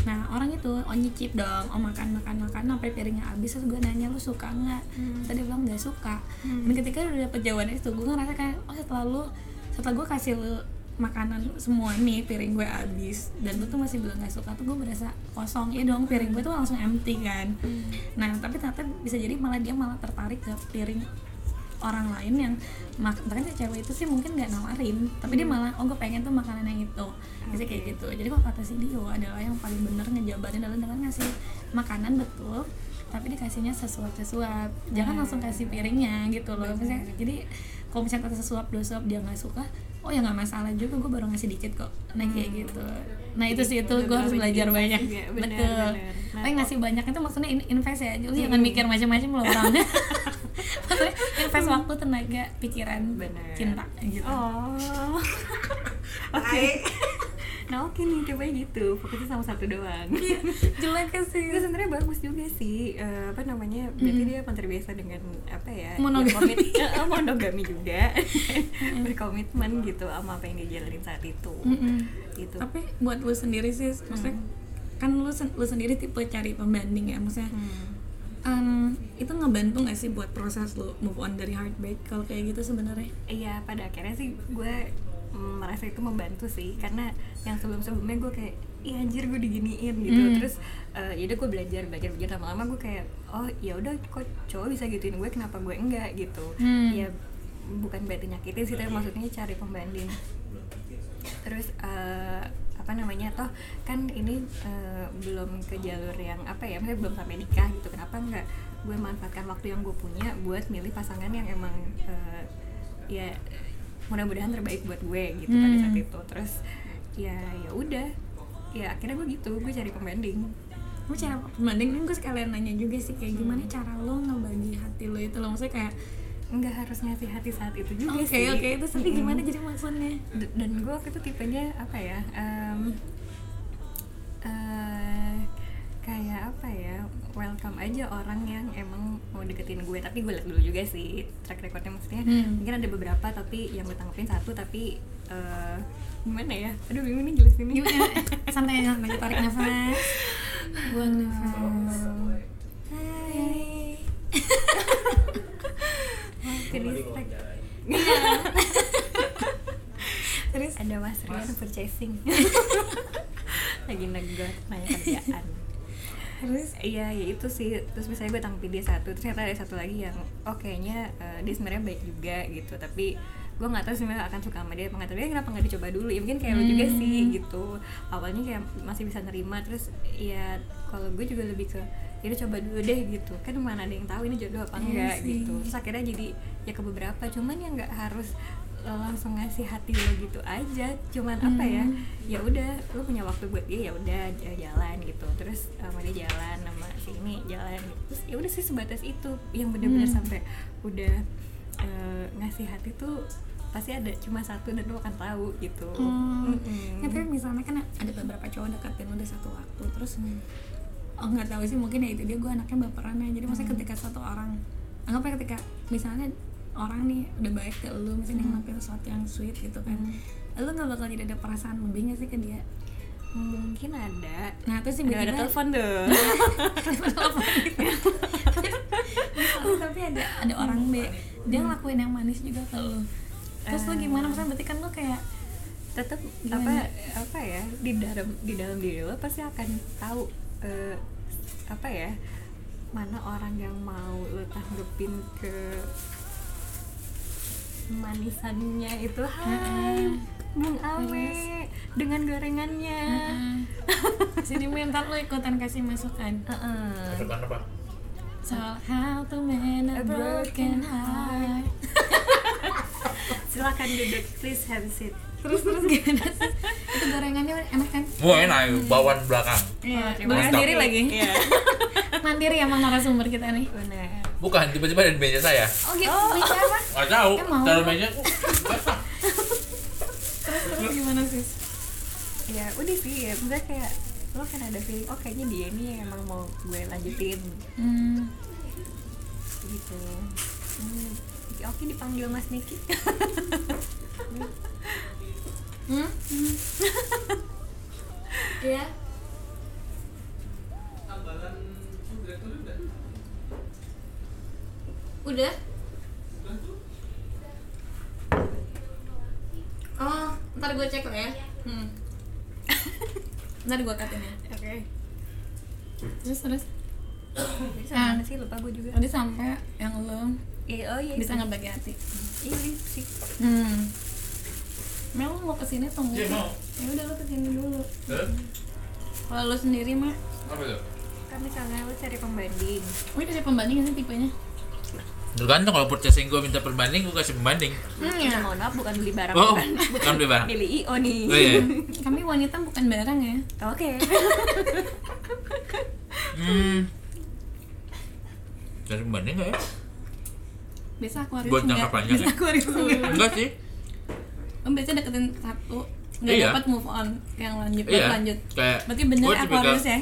Speaker 2: nah orang itu oh nyicip dong oh makan makan makan sampai piringnya habis terus gue nanya lu suka nggak tadi bilang nggak suka dan ketika udah dapet jawaban itu gue ngerasa kayak oh setelah lu setelah gue kasih lu makanan semua nih piring gue habis dan lu tuh masih bilang nggak suka tuh gue berasa kosong ya dong piring gue tuh langsung empty kan nah tapi ternyata bisa jadi malah dia malah tertarik ke piring orang lain yang mak bahkan si cewek itu sih mungkin nggak nawarin tapi dia malah oh gue pengen tuh makanan yang itu bisa kayak gitu jadi kalau kata si Dio adalah yang paling bener ngejabarin adalah dengan ngasih makanan betul tapi dikasihnya sesuap-sesuap jangan langsung kasih piringnya gitu loh Misalnya- jadi kalau misalnya kata sesuap dua suap dia nggak suka oh ya nggak masalah juga gue baru ngasih dikit kok nah kayak gitu nah itu sih itu gue harus belajar banyak
Speaker 3: Iya, benar,
Speaker 2: betul
Speaker 3: benar. Nah,
Speaker 2: tapi ngasih banyak itu maksudnya in- invest ya jadi jangan mikir macam-macam loh orang maksudnya invest waktu tenaga pikiran
Speaker 3: Benar.
Speaker 2: cinta gitu
Speaker 3: Oh Oke Nah oke nih tipenya gitu Fokusnya sama satu doang
Speaker 2: jelek
Speaker 3: itu
Speaker 2: sih
Speaker 3: sebenarnya bagus juga sih eh, apa namanya berarti dia terbiasa dengan apa ya
Speaker 2: Monogami.
Speaker 3: ya, komit- eh, monogami juga berkomitmen gitu sama apa yang dia jalanin saat itu
Speaker 2: Mm-mm.
Speaker 3: gitu Mm.
Speaker 2: tapi buat lu sendiri sih maksudnya kan lu, sen- lu sendiri tipe cari pembanding ya maksudnya
Speaker 3: Mm. Hmm.
Speaker 2: em, itu ngebantu nggak sih buat proses lu move on dari heartbreak kalau kayak gitu sebenarnya
Speaker 3: iya pada akhirnya sih gue mm, merasa itu membantu sih karena yang sebelum-sebelumnya gue kayak iya anjir gue diginiin gitu
Speaker 2: Hmm.
Speaker 3: terus eh, yaudah gue belajar belajar belajar lama-lama gue kayak oh ya udah kok cowok bisa gituin gue kenapa gue enggak gitu
Speaker 2: Hmm.
Speaker 3: ya bukan berarti nyakitin sih tapi maksudnya cari pembanding terus eh, apa namanya toh kan ini eh, belum ke jalur yang apa ya maksudnya belum sampai nikah gitu kenapa nggak gue manfaatkan waktu yang gue punya buat milih pasangan yang emang eh, ya mudah-mudahan terbaik buat gue gitu pada saat
Speaker 2: Hmm.
Speaker 3: itu terus ya ya udah ya akhirnya gue gitu gue cari pembanding
Speaker 2: Lu cara pembanding gue sekalian nanya juga sih kayak gimana
Speaker 3: Mm.
Speaker 2: cara lo ngebagi hati lo itu loh maksudnya kayak
Speaker 3: nggak harus ngasih hati saat itu juga
Speaker 2: oke
Speaker 3: sih
Speaker 2: oke itu tapi
Speaker 3: Mm-mm.
Speaker 2: gimana jadi maksudnya
Speaker 3: D- dan gue waktu itu tipenya apa ya em, eh, kayak apa ya welcome aja orang yang emang mau deketin gue tapi gue liat dulu juga sih track recordnya maksudnya
Speaker 2: Hmm.
Speaker 3: mungkin ada beberapa tapi yang gue tanggepin satu tapi eh, gimana ya aduh bingung nih jelasinnya
Speaker 2: Gimana? santai aja santai tarik nafas buang nafas hai
Speaker 3: Jadi Iya. Terus ada Mas Rian purchasing. Lagi negor nanya kerjaan. Terus iya ya itu sih terus misalnya gue tanggapi dia satu ternyata ada satu lagi yang oh kayaknya eh, dia sebenarnya baik juga gitu tapi gue nggak tahu sebenarnya akan suka sama dia apa nggak tapi kenapa nggak dicoba dulu ya mungkin kayak lo juga sih
Speaker 2: Hmm.
Speaker 3: gitu awalnya kayak masih bisa nerima terus ya kalau gue juga lebih ke ya udah coba dulu deh gitu kan mana ada yang tahu ini jodoh
Speaker 2: Iya
Speaker 3: apa enggak
Speaker 2: sih.
Speaker 3: gitu terus akhirnya jadi ya ke beberapa cuman ya nggak harus lo langsung ngasih hati lo gitu aja cuman apa ya
Speaker 2: Hmm.
Speaker 3: ya udah lo punya waktu buat dia ya udah j- jalan gitu terus sama dia jalan sama si ini jalan gitu. terus ya udah sih sebatas itu yang bener-bener
Speaker 2: Hmm.
Speaker 3: sampai udah eh, ngasih hati tuh pasti ada cuma satu dan lo akan tahu gitu
Speaker 2: Hmm.
Speaker 3: Mm-mm.
Speaker 2: Ya, tapi misalnya kan ada beberapa cowok deketin udah satu waktu terus
Speaker 3: Mm.
Speaker 2: oh nggak tahu sih mungkin ya itu dia gue anaknya baperan ya jadi
Speaker 3: Mm.
Speaker 2: maksudnya ketika satu orang anggapnya ketika misalnya orang nih udah baik ke lu misalnya
Speaker 3: Mm.
Speaker 2: ngelakuin sesuatu yang sweet gitu kan lu nggak bakal jadi ada perasaan lebih nggak sih ke dia
Speaker 3: mungkin ada
Speaker 2: nah terus
Speaker 3: Aduh, ada
Speaker 2: tiba-tiba
Speaker 3: telepon tuh
Speaker 2: Tapi- Iya, tapi ada ada
Speaker 3: Mm.
Speaker 2: orang B dia ngelakuin yang manis juga ke lu terus
Speaker 3: Eh.
Speaker 2: lu gimana misalnya berarti kan lu kayak
Speaker 3: tetap apa
Speaker 2: Gimana?
Speaker 3: apa ya di dalam di dalam diri lo pasti akan tahu eh, apa ya mana orang yang mau lo tanggepin ke manisannya itu hai Bung Awe dengan gorengannya Eh.
Speaker 2: Jadi mental lo ikutan kasih masukan
Speaker 3: Heeh.
Speaker 4: Tentang apa?
Speaker 2: soal how to mend a broken heart.
Speaker 3: silakan duduk please have seat
Speaker 2: Terus terus Iya, gimana sih? Itu gorengannya enak kan?
Speaker 4: Wah enak, bawaan belakang.
Speaker 2: Iya,
Speaker 4: kasih.
Speaker 2: boleh sendiri lagi.
Speaker 3: Iya.
Speaker 2: Mandiri ya sama narasumber kita nih.
Speaker 3: benar
Speaker 4: Bukan, tiba-tiba ada di meja saya.
Speaker 2: Oh, gitu. Bisa apa?
Speaker 4: Gak tahu,
Speaker 2: Ya, mau.
Speaker 4: taruh meja. oh, basah.
Speaker 2: Terus terus gimana sis?
Speaker 3: ya udah sih ya maksudnya kayak lo kan ada feeling oh kayaknya dia nih yang emang mau gue lanjutin
Speaker 2: Hmm.
Speaker 3: gitu hmm. ya oke dipanggil Mas Niki
Speaker 2: Hmm? Iya. Udah? Oh, ntar gue cek lo ya. Hmm. ntar gue katain ya.
Speaker 3: oke
Speaker 2: Terus terus.
Speaker 3: jadi
Speaker 2: Ah.
Speaker 3: sama sih lupa gue juga
Speaker 2: Tadi sampai yang lo
Speaker 3: Eh, oh iya
Speaker 2: bisa ngebagi hati.
Speaker 3: iya sih
Speaker 2: Hmm. Mel lo mau kesini tunggu.
Speaker 4: Iya, mau.
Speaker 2: Ya udah lo kesini dulu.
Speaker 4: Terus?
Speaker 2: Kalau lo sendiri mah,
Speaker 4: Apa itu?
Speaker 3: kan misalnya lo cari pembanding
Speaker 2: ini kasih pembanding nggak sih tipenya?
Speaker 4: Tergantung kalau purchasing gue minta perbanding, gue kasih pembanding.
Speaker 2: Hmm,
Speaker 3: ya. mohon maaf bukan beli barang
Speaker 4: Oh,
Speaker 3: bukan
Speaker 4: bukan beli barang.
Speaker 3: milih IO nih
Speaker 4: Oh iya.
Speaker 2: Kami wanita bukan barang ya.
Speaker 3: oke
Speaker 4: Hmm. Kasih pembanding nggak ya?
Speaker 2: Biasa aku harus
Speaker 4: Buat jangka panjang ya?
Speaker 2: aku harus enggak.
Speaker 4: Enggak sih.
Speaker 2: Om biasa deketin satu, nggak
Speaker 4: Iya.
Speaker 2: dapat move on yang lanjut,
Speaker 4: Iya.
Speaker 2: baru lanjut.
Speaker 4: Kayak.
Speaker 2: Berarti bener
Speaker 4: gua
Speaker 2: aku
Speaker 4: tipikal-
Speaker 2: harus ya.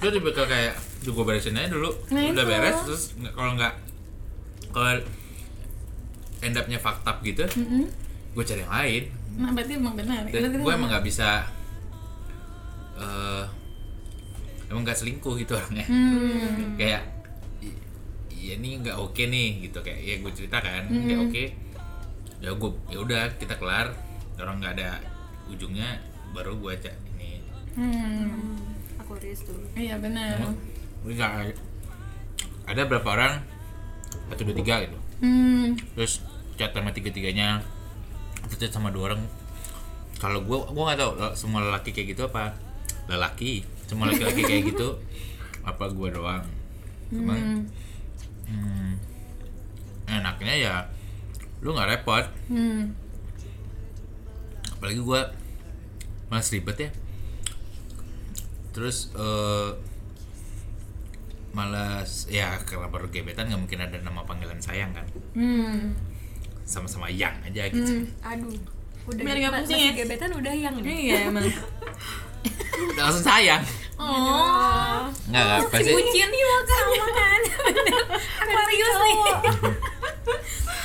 Speaker 4: Gue tipikal kayak, duh gue beresin aja dulu.
Speaker 2: Nah,
Speaker 4: Udah
Speaker 2: itu.
Speaker 4: beres, terus nggak- kalau nggak, kalau end up-nya fucked up gitu,
Speaker 2: Mm-mm.
Speaker 4: gue cari yang lain.
Speaker 2: Nah berarti emang benar.
Speaker 4: Dan
Speaker 2: Berarti
Speaker 4: gue
Speaker 2: emang-
Speaker 4: Iya, emang nggak bisa. eh emang nggak selingkuh gitu orangnya.
Speaker 2: Hmm.
Speaker 4: kayak "I- ya ini nggak oke nih gitu kayak ya gue cerita kan nggak oke ya gue ya udah kita kelar orang nggak ada ujungnya baru gue cek ini
Speaker 2: Hmm.
Speaker 3: aku rilis dulu
Speaker 2: Iya benar.
Speaker 4: Emang nggak ada- ada berapa orang satu dua tiga gitu
Speaker 2: Hmm.
Speaker 4: terus chat sama tiga tiganya atau chat sama dua orang kalau gue gue nggak tahu lo- semua lelaki kayak gitu apa lelaki semua laki-laki kayak gitu apa gue doang cuman
Speaker 2: Hmm.
Speaker 4: hmm, enaknya ya lu nggak repot
Speaker 2: Hmm.
Speaker 4: apalagi gue mas ribet ya terus eh malas ya karena baru gebetan nggak mungkin ada nama panggilan sayang kan
Speaker 2: Hmm.
Speaker 4: sama-sama yang aja gitu
Speaker 3: aduh udah
Speaker 2: Biar nggak
Speaker 3: ma-
Speaker 2: pusing
Speaker 3: masih
Speaker 2: ya?
Speaker 3: gebetan udah yang nih
Speaker 2: Iya emang.
Speaker 4: langsung sayang
Speaker 2: Oh.
Speaker 4: nggak nggak pasti
Speaker 2: Bucin nih makanya kan Aquarius nih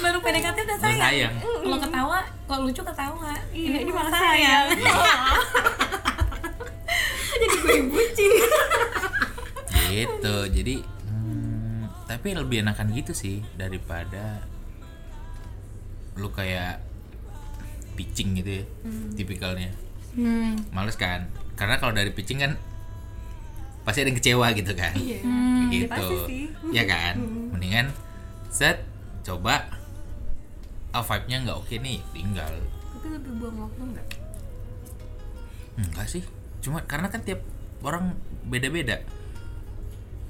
Speaker 2: Baru PDKT udah
Speaker 4: Udah
Speaker 2: sayang
Speaker 4: sayang.
Speaker 2: Kalau ketawa, kalau lucu ketawa
Speaker 3: Iya,
Speaker 2: Ini
Speaker 3: ini
Speaker 2: malah
Speaker 3: malah
Speaker 2: sayang
Speaker 4: gitu jadi hmm, tapi lebih enakan gitu sih daripada lu kayak pitching gitu ya tipikalnya
Speaker 2: hmm.
Speaker 4: males kan karena kalau dari pitching kan pasti ada yang kecewa gitu kan
Speaker 2: Hmm.
Speaker 4: gitu
Speaker 3: pasti sih.
Speaker 4: ya kan mendingan set coba ah vibe nya nggak oke nih tinggal
Speaker 3: tapi lebih buang waktu nggak
Speaker 4: enggak sih cuma karena kan tiap orang beda beda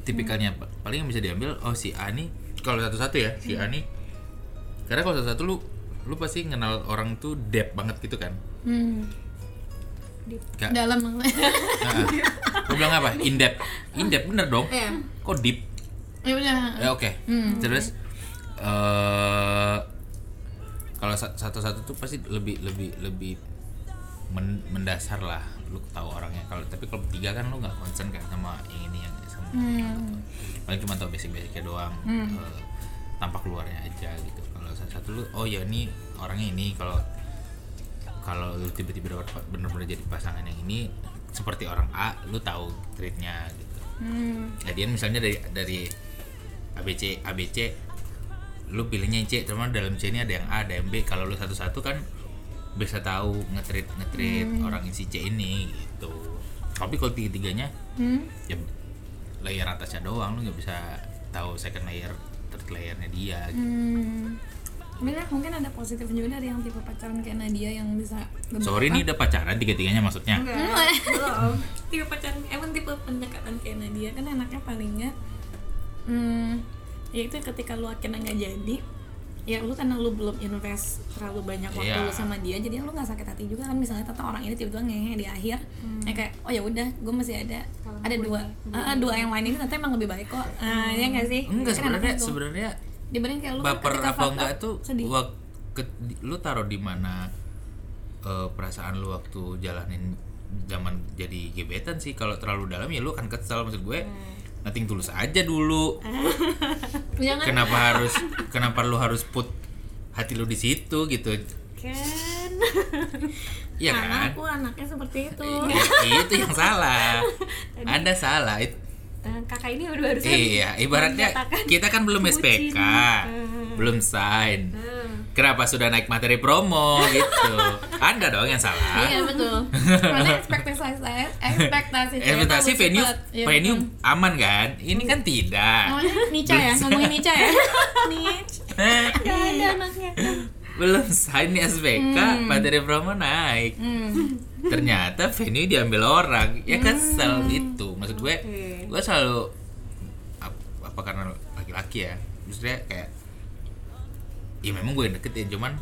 Speaker 4: tipikalnya apa paling yang bisa diambil oh si A nih kalau satu satu ya si A nih karena kalau satu satu lu lu pasti kenal orang tuh depth banget gitu kan
Speaker 2: Hmm.
Speaker 4: Gak,
Speaker 2: Dalam
Speaker 4: Nah, lu bilang apa? In depth. In depth bener dong.
Speaker 2: Iya.
Speaker 4: Kok deep?
Speaker 2: Ya udah
Speaker 4: Ya oke. Terus eh kalau sa- satu-satu tuh pasti lebih lebih lebih men- mendasar lah lu tahu orangnya. Kalau tapi kalau bertiga kan lu nggak concern kan sama yang ini yang ini, sama
Speaker 2: Hmm.
Speaker 4: paling cuma tahu basic-basicnya doang. eh, tampak luarnya aja gitu. Kalau satu-satu lu oh ya ini orangnya ini kalau kalau lu tiba-tiba dapat bener-bener jadi pasangan yang ini seperti orang A, lu tahu treatnya gitu
Speaker 2: Hmm.
Speaker 4: jadian misalnya dari dari ABC ABC lu pilihnya C cuma dalam C ini ada yang A ada yang B kalau lu satu-satu kan bisa tahu ngetrit
Speaker 2: Hmm.
Speaker 4: ngetrit orang isi C ini gitu tapi kalau tiga tiganya
Speaker 2: Hmm.
Speaker 4: ya layer atasnya doang lu nggak bisa tahu second layer third layernya dia gitu.
Speaker 2: Hmm. Bener, mungkin ada positif juga dari yang tipe pacaran kayak Nadia yang bisa lebih-
Speaker 4: sorry nih udah pacaran tiga tiganya maksudnya
Speaker 2: Enggak, belum. tipe pacaran, emang tipe pendekatan kayak Nadia kan enaknya palingnya hmm, yaitu ketika lu akhirnya nggak jadi ya lu karena lu belum invest terlalu banyak waktu
Speaker 4: Iya.
Speaker 2: lu sama dia jadi lu nggak sakit hati juga kan misalnya tata orang ini tiba-tiba ngehe di akhir ya kayak oh ya udah gue masih ada ada dua ah, dua yang lain ini ternyata emang lebih baik kok ah ya nggak sih
Speaker 4: enggak
Speaker 2: Kan enaknya
Speaker 4: sebenarnya
Speaker 2: tuh.
Speaker 4: sebenarnya
Speaker 2: dibanding kayak lu kan
Speaker 4: baper
Speaker 2: ketika
Speaker 4: apa
Speaker 2: fuck
Speaker 4: enggak
Speaker 2: up,
Speaker 4: tuh
Speaker 2: sedih
Speaker 4: wak- ke- di- lu taruh di mana eh, perasaan lu waktu jalanin zaman jadi gebetan sih kalau terlalu dalam ya lu akan kesel maksud gue
Speaker 2: Hmm.
Speaker 4: nothing tulus aja dulu
Speaker 2: jangan
Speaker 4: kenapa harus kenapa lu harus put hati lu di situ gitu
Speaker 3: kan
Speaker 4: ya
Speaker 2: karena
Speaker 4: kan Iya.
Speaker 2: aku anaknya seperti itu
Speaker 4: I- itu yang salah ada salah It-
Speaker 3: Eh, kakak ini baru baru
Speaker 4: iya ibaratnya
Speaker 3: menyatakan
Speaker 4: kita kan belum SPK
Speaker 2: Hmm.
Speaker 3: bucin.
Speaker 4: belum sign
Speaker 3: Hmm.
Speaker 4: kenapa sudah naik materi promo gitu anda dong yang salah
Speaker 2: Iya betul. Karena ekspektasi saya, ekspektasi saya
Speaker 4: Ekspektasi
Speaker 2: terlalu
Speaker 4: venue
Speaker 2: cepat. Iya,
Speaker 4: venue
Speaker 2: betul.
Speaker 4: aman kan ini kan tidak
Speaker 2: Ngomongin Nica ya, ngomongin Nica ya. Nich.
Speaker 3: Gak ada anaknya
Speaker 4: belum sign nih SPK materi promo naik
Speaker 2: Hmm.
Speaker 4: ternyata venue diambil orang ya
Speaker 2: Hmm.
Speaker 4: kesel gitu maksud gue gue selalu ap- apa karena laki-laki ya maksudnya kayak ya memang gue yang deketin cuman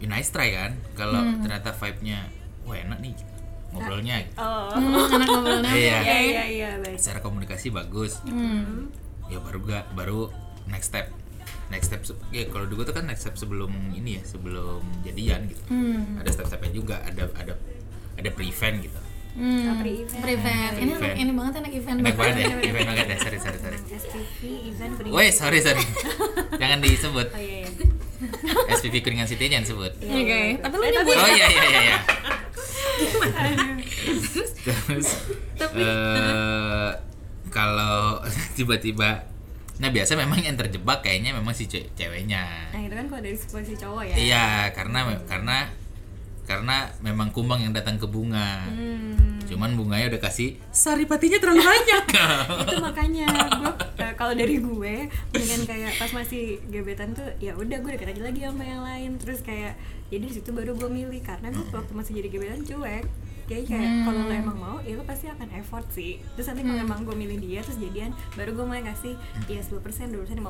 Speaker 4: ya nice try kan kalau
Speaker 2: Hmm.
Speaker 4: ternyata vibe-nya wah enak nih gitu, ngobrolnya gitu.
Speaker 3: oh
Speaker 2: Hmm, anak ngobrolnya.
Speaker 4: Iya.
Speaker 3: iya iya iya baik
Speaker 4: secara komunikasi bagus
Speaker 2: Hmm.
Speaker 4: ya baru gak baru next step next step se- ya kalau dulu tuh kan next step sebelum ini ya sebelum jadian gitu
Speaker 2: Hmm.
Speaker 4: ada step-stepnya juga ada ada ada pre-event gitu
Speaker 2: Hmm.
Speaker 3: Pre-event.
Speaker 2: Pre-event. Ini
Speaker 4: Pre-event.
Speaker 2: anak- ini banget anak event
Speaker 4: Enak
Speaker 2: banget.
Speaker 4: banget ya, event banget ya, sorry, sorry, sorry
Speaker 3: SPV event pre
Speaker 4: Woi, sorry, sorry Jangan disebut
Speaker 3: oh iya iya
Speaker 4: SPV Kuningan City jangan sebut
Speaker 2: Oke, tapi lu
Speaker 3: Eh,
Speaker 2: nyebut.
Speaker 4: Oh iya, iya, iya, iya Terus eh, Kalau tiba-tiba Nah biasa memang yang terjebak kayaknya memang si ce- ceweknya
Speaker 3: nah itu kan kalau dari posisi cowok ya
Speaker 4: Iya, karena me- karena karena memang kumbang yang datang ke bunga
Speaker 2: Hmm.
Speaker 4: Cuman bunganya udah kasih sari patinya terlalu banyak
Speaker 3: itu makanya gue kalau dari gue mendingan kayak pas masih gebetan tuh ya udah gue deket aja lagi sama yang lain terus kayak jadi di situ baru gue milih karena gue waktu masih jadi gebetan cuek kayak kayak
Speaker 2: Hmm.
Speaker 3: kalau lo emang mau ya lo pasti akan effort sih terus nanti kalau emang gue milih dia terus jadian baru gue mulai kasih ya 10% 20% 50%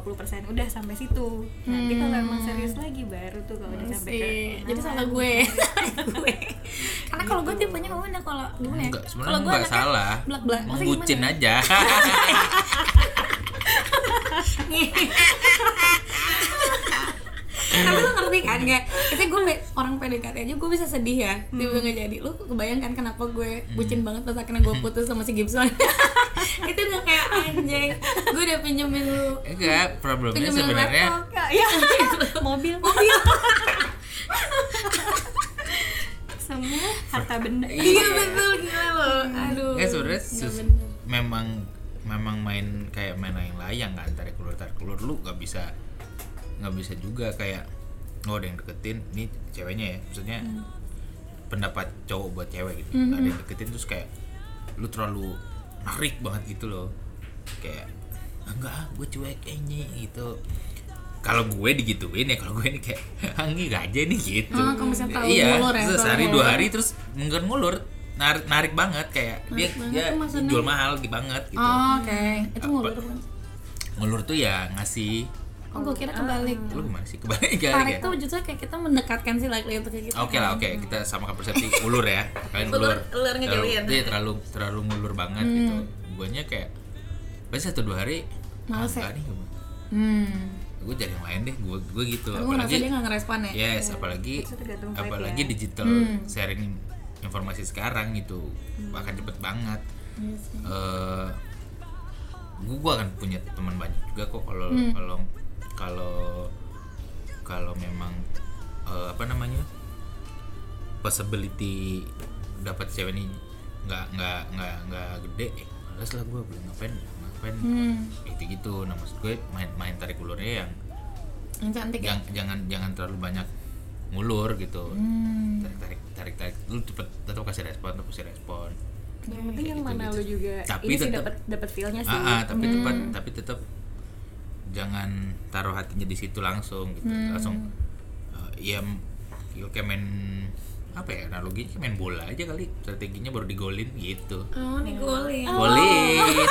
Speaker 3: udah sampai situ nanti kalau emang serius lagi baru tuh
Speaker 4: Oh,
Speaker 3: kalau
Speaker 4: iya.
Speaker 3: udah sampai ke
Speaker 2: Sih. Jadi Hmm. Ah. salah gue. Gue. Karena kalau gue tipenya gimana kalau gimana ya?
Speaker 4: Enggak,
Speaker 2: Kalau
Speaker 4: sebenarnya
Speaker 2: gue
Speaker 4: enggak
Speaker 2: anaknya
Speaker 4: salah
Speaker 2: Belak-belak. Maksudnya
Speaker 4: Mengbucin
Speaker 2: gimana? ya?
Speaker 4: aja
Speaker 2: tapi lu ngerti kan kayak itu gue pe- orang PDKT aja gue bisa sedih ya
Speaker 4: Hmm.
Speaker 2: tiba-tiba nggak jadi lu kebayangkan kenapa gue bucin banget pas akhirnya gue putus sama si Gibson itu udah kayak anjing gue udah pinjemin lu
Speaker 4: Enggak, problemnya
Speaker 2: pinjemin lu
Speaker 4: sebenarnya
Speaker 2: laptop
Speaker 3: ya mobil semua harta benda
Speaker 2: iya betul gila lu aduh Iya,
Speaker 4: Enggak Eh, sebenarnya sus-
Speaker 2: bener.
Speaker 4: memang memang main kayak main layang-layang kan tarik ulur tarik ulur lu nggak bisa nggak bisa juga kayak oh ada yang deketin ini ceweknya ya maksudnya
Speaker 2: Hmm.
Speaker 4: pendapat cowok buat cewek gitu ada yang deketin terus kayak lu terlalu narik banget gitu loh kayak "Ah, enggak ah, gue cuek ini gitu kalau gue digituin ya kalau gue ini kayak "Ah, enggak aja nih gitu
Speaker 2: Ah, kalau misalnya terlalu
Speaker 4: iya
Speaker 2: ngulur ya,
Speaker 4: terus
Speaker 2: terlalu
Speaker 4: sehari
Speaker 2: ngulur.
Speaker 4: dua hari terus mungkin ngulur narik narik banget kayak dia
Speaker 2: banget
Speaker 4: dia
Speaker 2: tuh maksudnya.
Speaker 4: jual mahal gitu banget gitu
Speaker 2: oh, oke itu ngulur
Speaker 4: Apa? ngulur tuh ya ngasih
Speaker 2: oh gue kira kebalik
Speaker 4: lu gimana sih kebalik
Speaker 2: tarik
Speaker 4: kali ya
Speaker 2: tuh justru kayak kita mendekatkan si laki itu kayak gitu
Speaker 4: oke lah oke kita samakan persepsi ngulur ya kalian
Speaker 2: Ulur-
Speaker 4: ngulur
Speaker 2: ulur
Speaker 4: terlalu,
Speaker 2: ngejauhin.
Speaker 4: iya, terlalu terlalu ngulur banget
Speaker 2: Hmm.
Speaker 4: gitu guanya kayak pasti satu dua hari
Speaker 2: Males ya?"
Speaker 4: ah, enggak nih
Speaker 2: hmm
Speaker 4: gue jadi yang lain deh gue gue gitu
Speaker 2: tapi gue ngerasa dia nggak ngerespon ya
Speaker 4: Yes, apalagi
Speaker 3: Itu tergantung vibe
Speaker 4: apalagi digital sharing informasi sekarang gitu bahkan cepet banget. Eh, gua gua akan punya teman banyak juga kok kalau kalau kalau kalau memang eh, apa namanya possibility dapat cewek ini nggak nggak nggak nggak gede, eh, males lah gue belum ngapain ngapain
Speaker 2: Hmm.
Speaker 4: gitu gitu. Nah maksud gue main main tarik ulurnya yang
Speaker 2: yang cantik ya
Speaker 4: Jang- jangan jangan terlalu banyak ngulur gitu tarik tarik tarik tarik lu cepet tetap kasih respon tetap kasih respon
Speaker 3: yang penting yang
Speaker 4: Gitu,
Speaker 3: mana
Speaker 4: gitu.
Speaker 3: lu juga
Speaker 4: Tapi
Speaker 3: ini sih
Speaker 4: tetep-
Speaker 3: dapat dapat feelnya sih
Speaker 4: Ah, ah, tapi tepat tapi tetap jangan taruh hatinya di situ langsung gitu langsung eh, ya m- ya kayak main apa ya analoginya kayak main bola aja kali strateginya baru digolin gitu
Speaker 2: Oh, nih golin.
Speaker 4: golin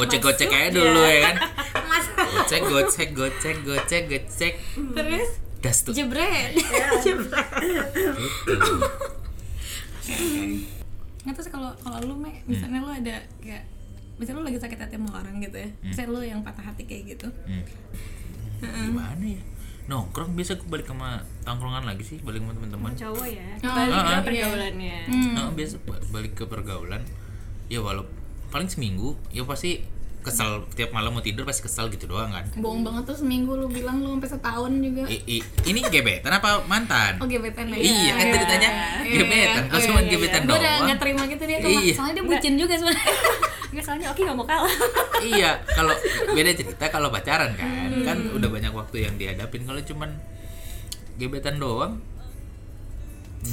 Speaker 4: gocek gocek aja dulu ya kan gocek gocek gocek gocek gocek
Speaker 2: Mm. Terus
Speaker 4: das tuh
Speaker 2: jebret.
Speaker 4: Gitu.
Speaker 2: Nggak terus kalau kalau lu me, misalnya lu ada kayak misalnya lu lagi sakit hati sama orang gitu ya.
Speaker 4: Mm.
Speaker 2: Misalnya lu yang patah hati kayak gitu.
Speaker 4: Hmm. gimana ya nongkrong biasa gue balik sama tongkrongan lagi sih balik sama teman-teman
Speaker 3: cowok ya
Speaker 2: Oh,
Speaker 3: balik ke
Speaker 4: iya.
Speaker 3: pergaulannya
Speaker 2: Hmm.
Speaker 4: Nah, biasa ba- balik ke pergaulan ya walau paling seminggu ya pasti kesal tiap malam mau tidur pasti kesal gitu doang kan
Speaker 2: Bohong banget tuh seminggu lu bilang lu sampai setahun juga.
Speaker 4: I- i- ini gebetan apa mantan
Speaker 2: Oh, gebetan Iya, lagi.
Speaker 4: iya kan tadi tanya gebetan kok cuma gebetan
Speaker 2: Gue udah
Speaker 4: doang
Speaker 2: nggak terima gitu dia tuh,
Speaker 4: Iya.
Speaker 2: soalnya dia bucin juga sebenarnya.
Speaker 3: nggak soalnya Oki nggak mau kalah
Speaker 4: iya kalau beda cerita kalau pacaran kan kan udah banyak waktu yang dihadapin kalau cuman gebetan doang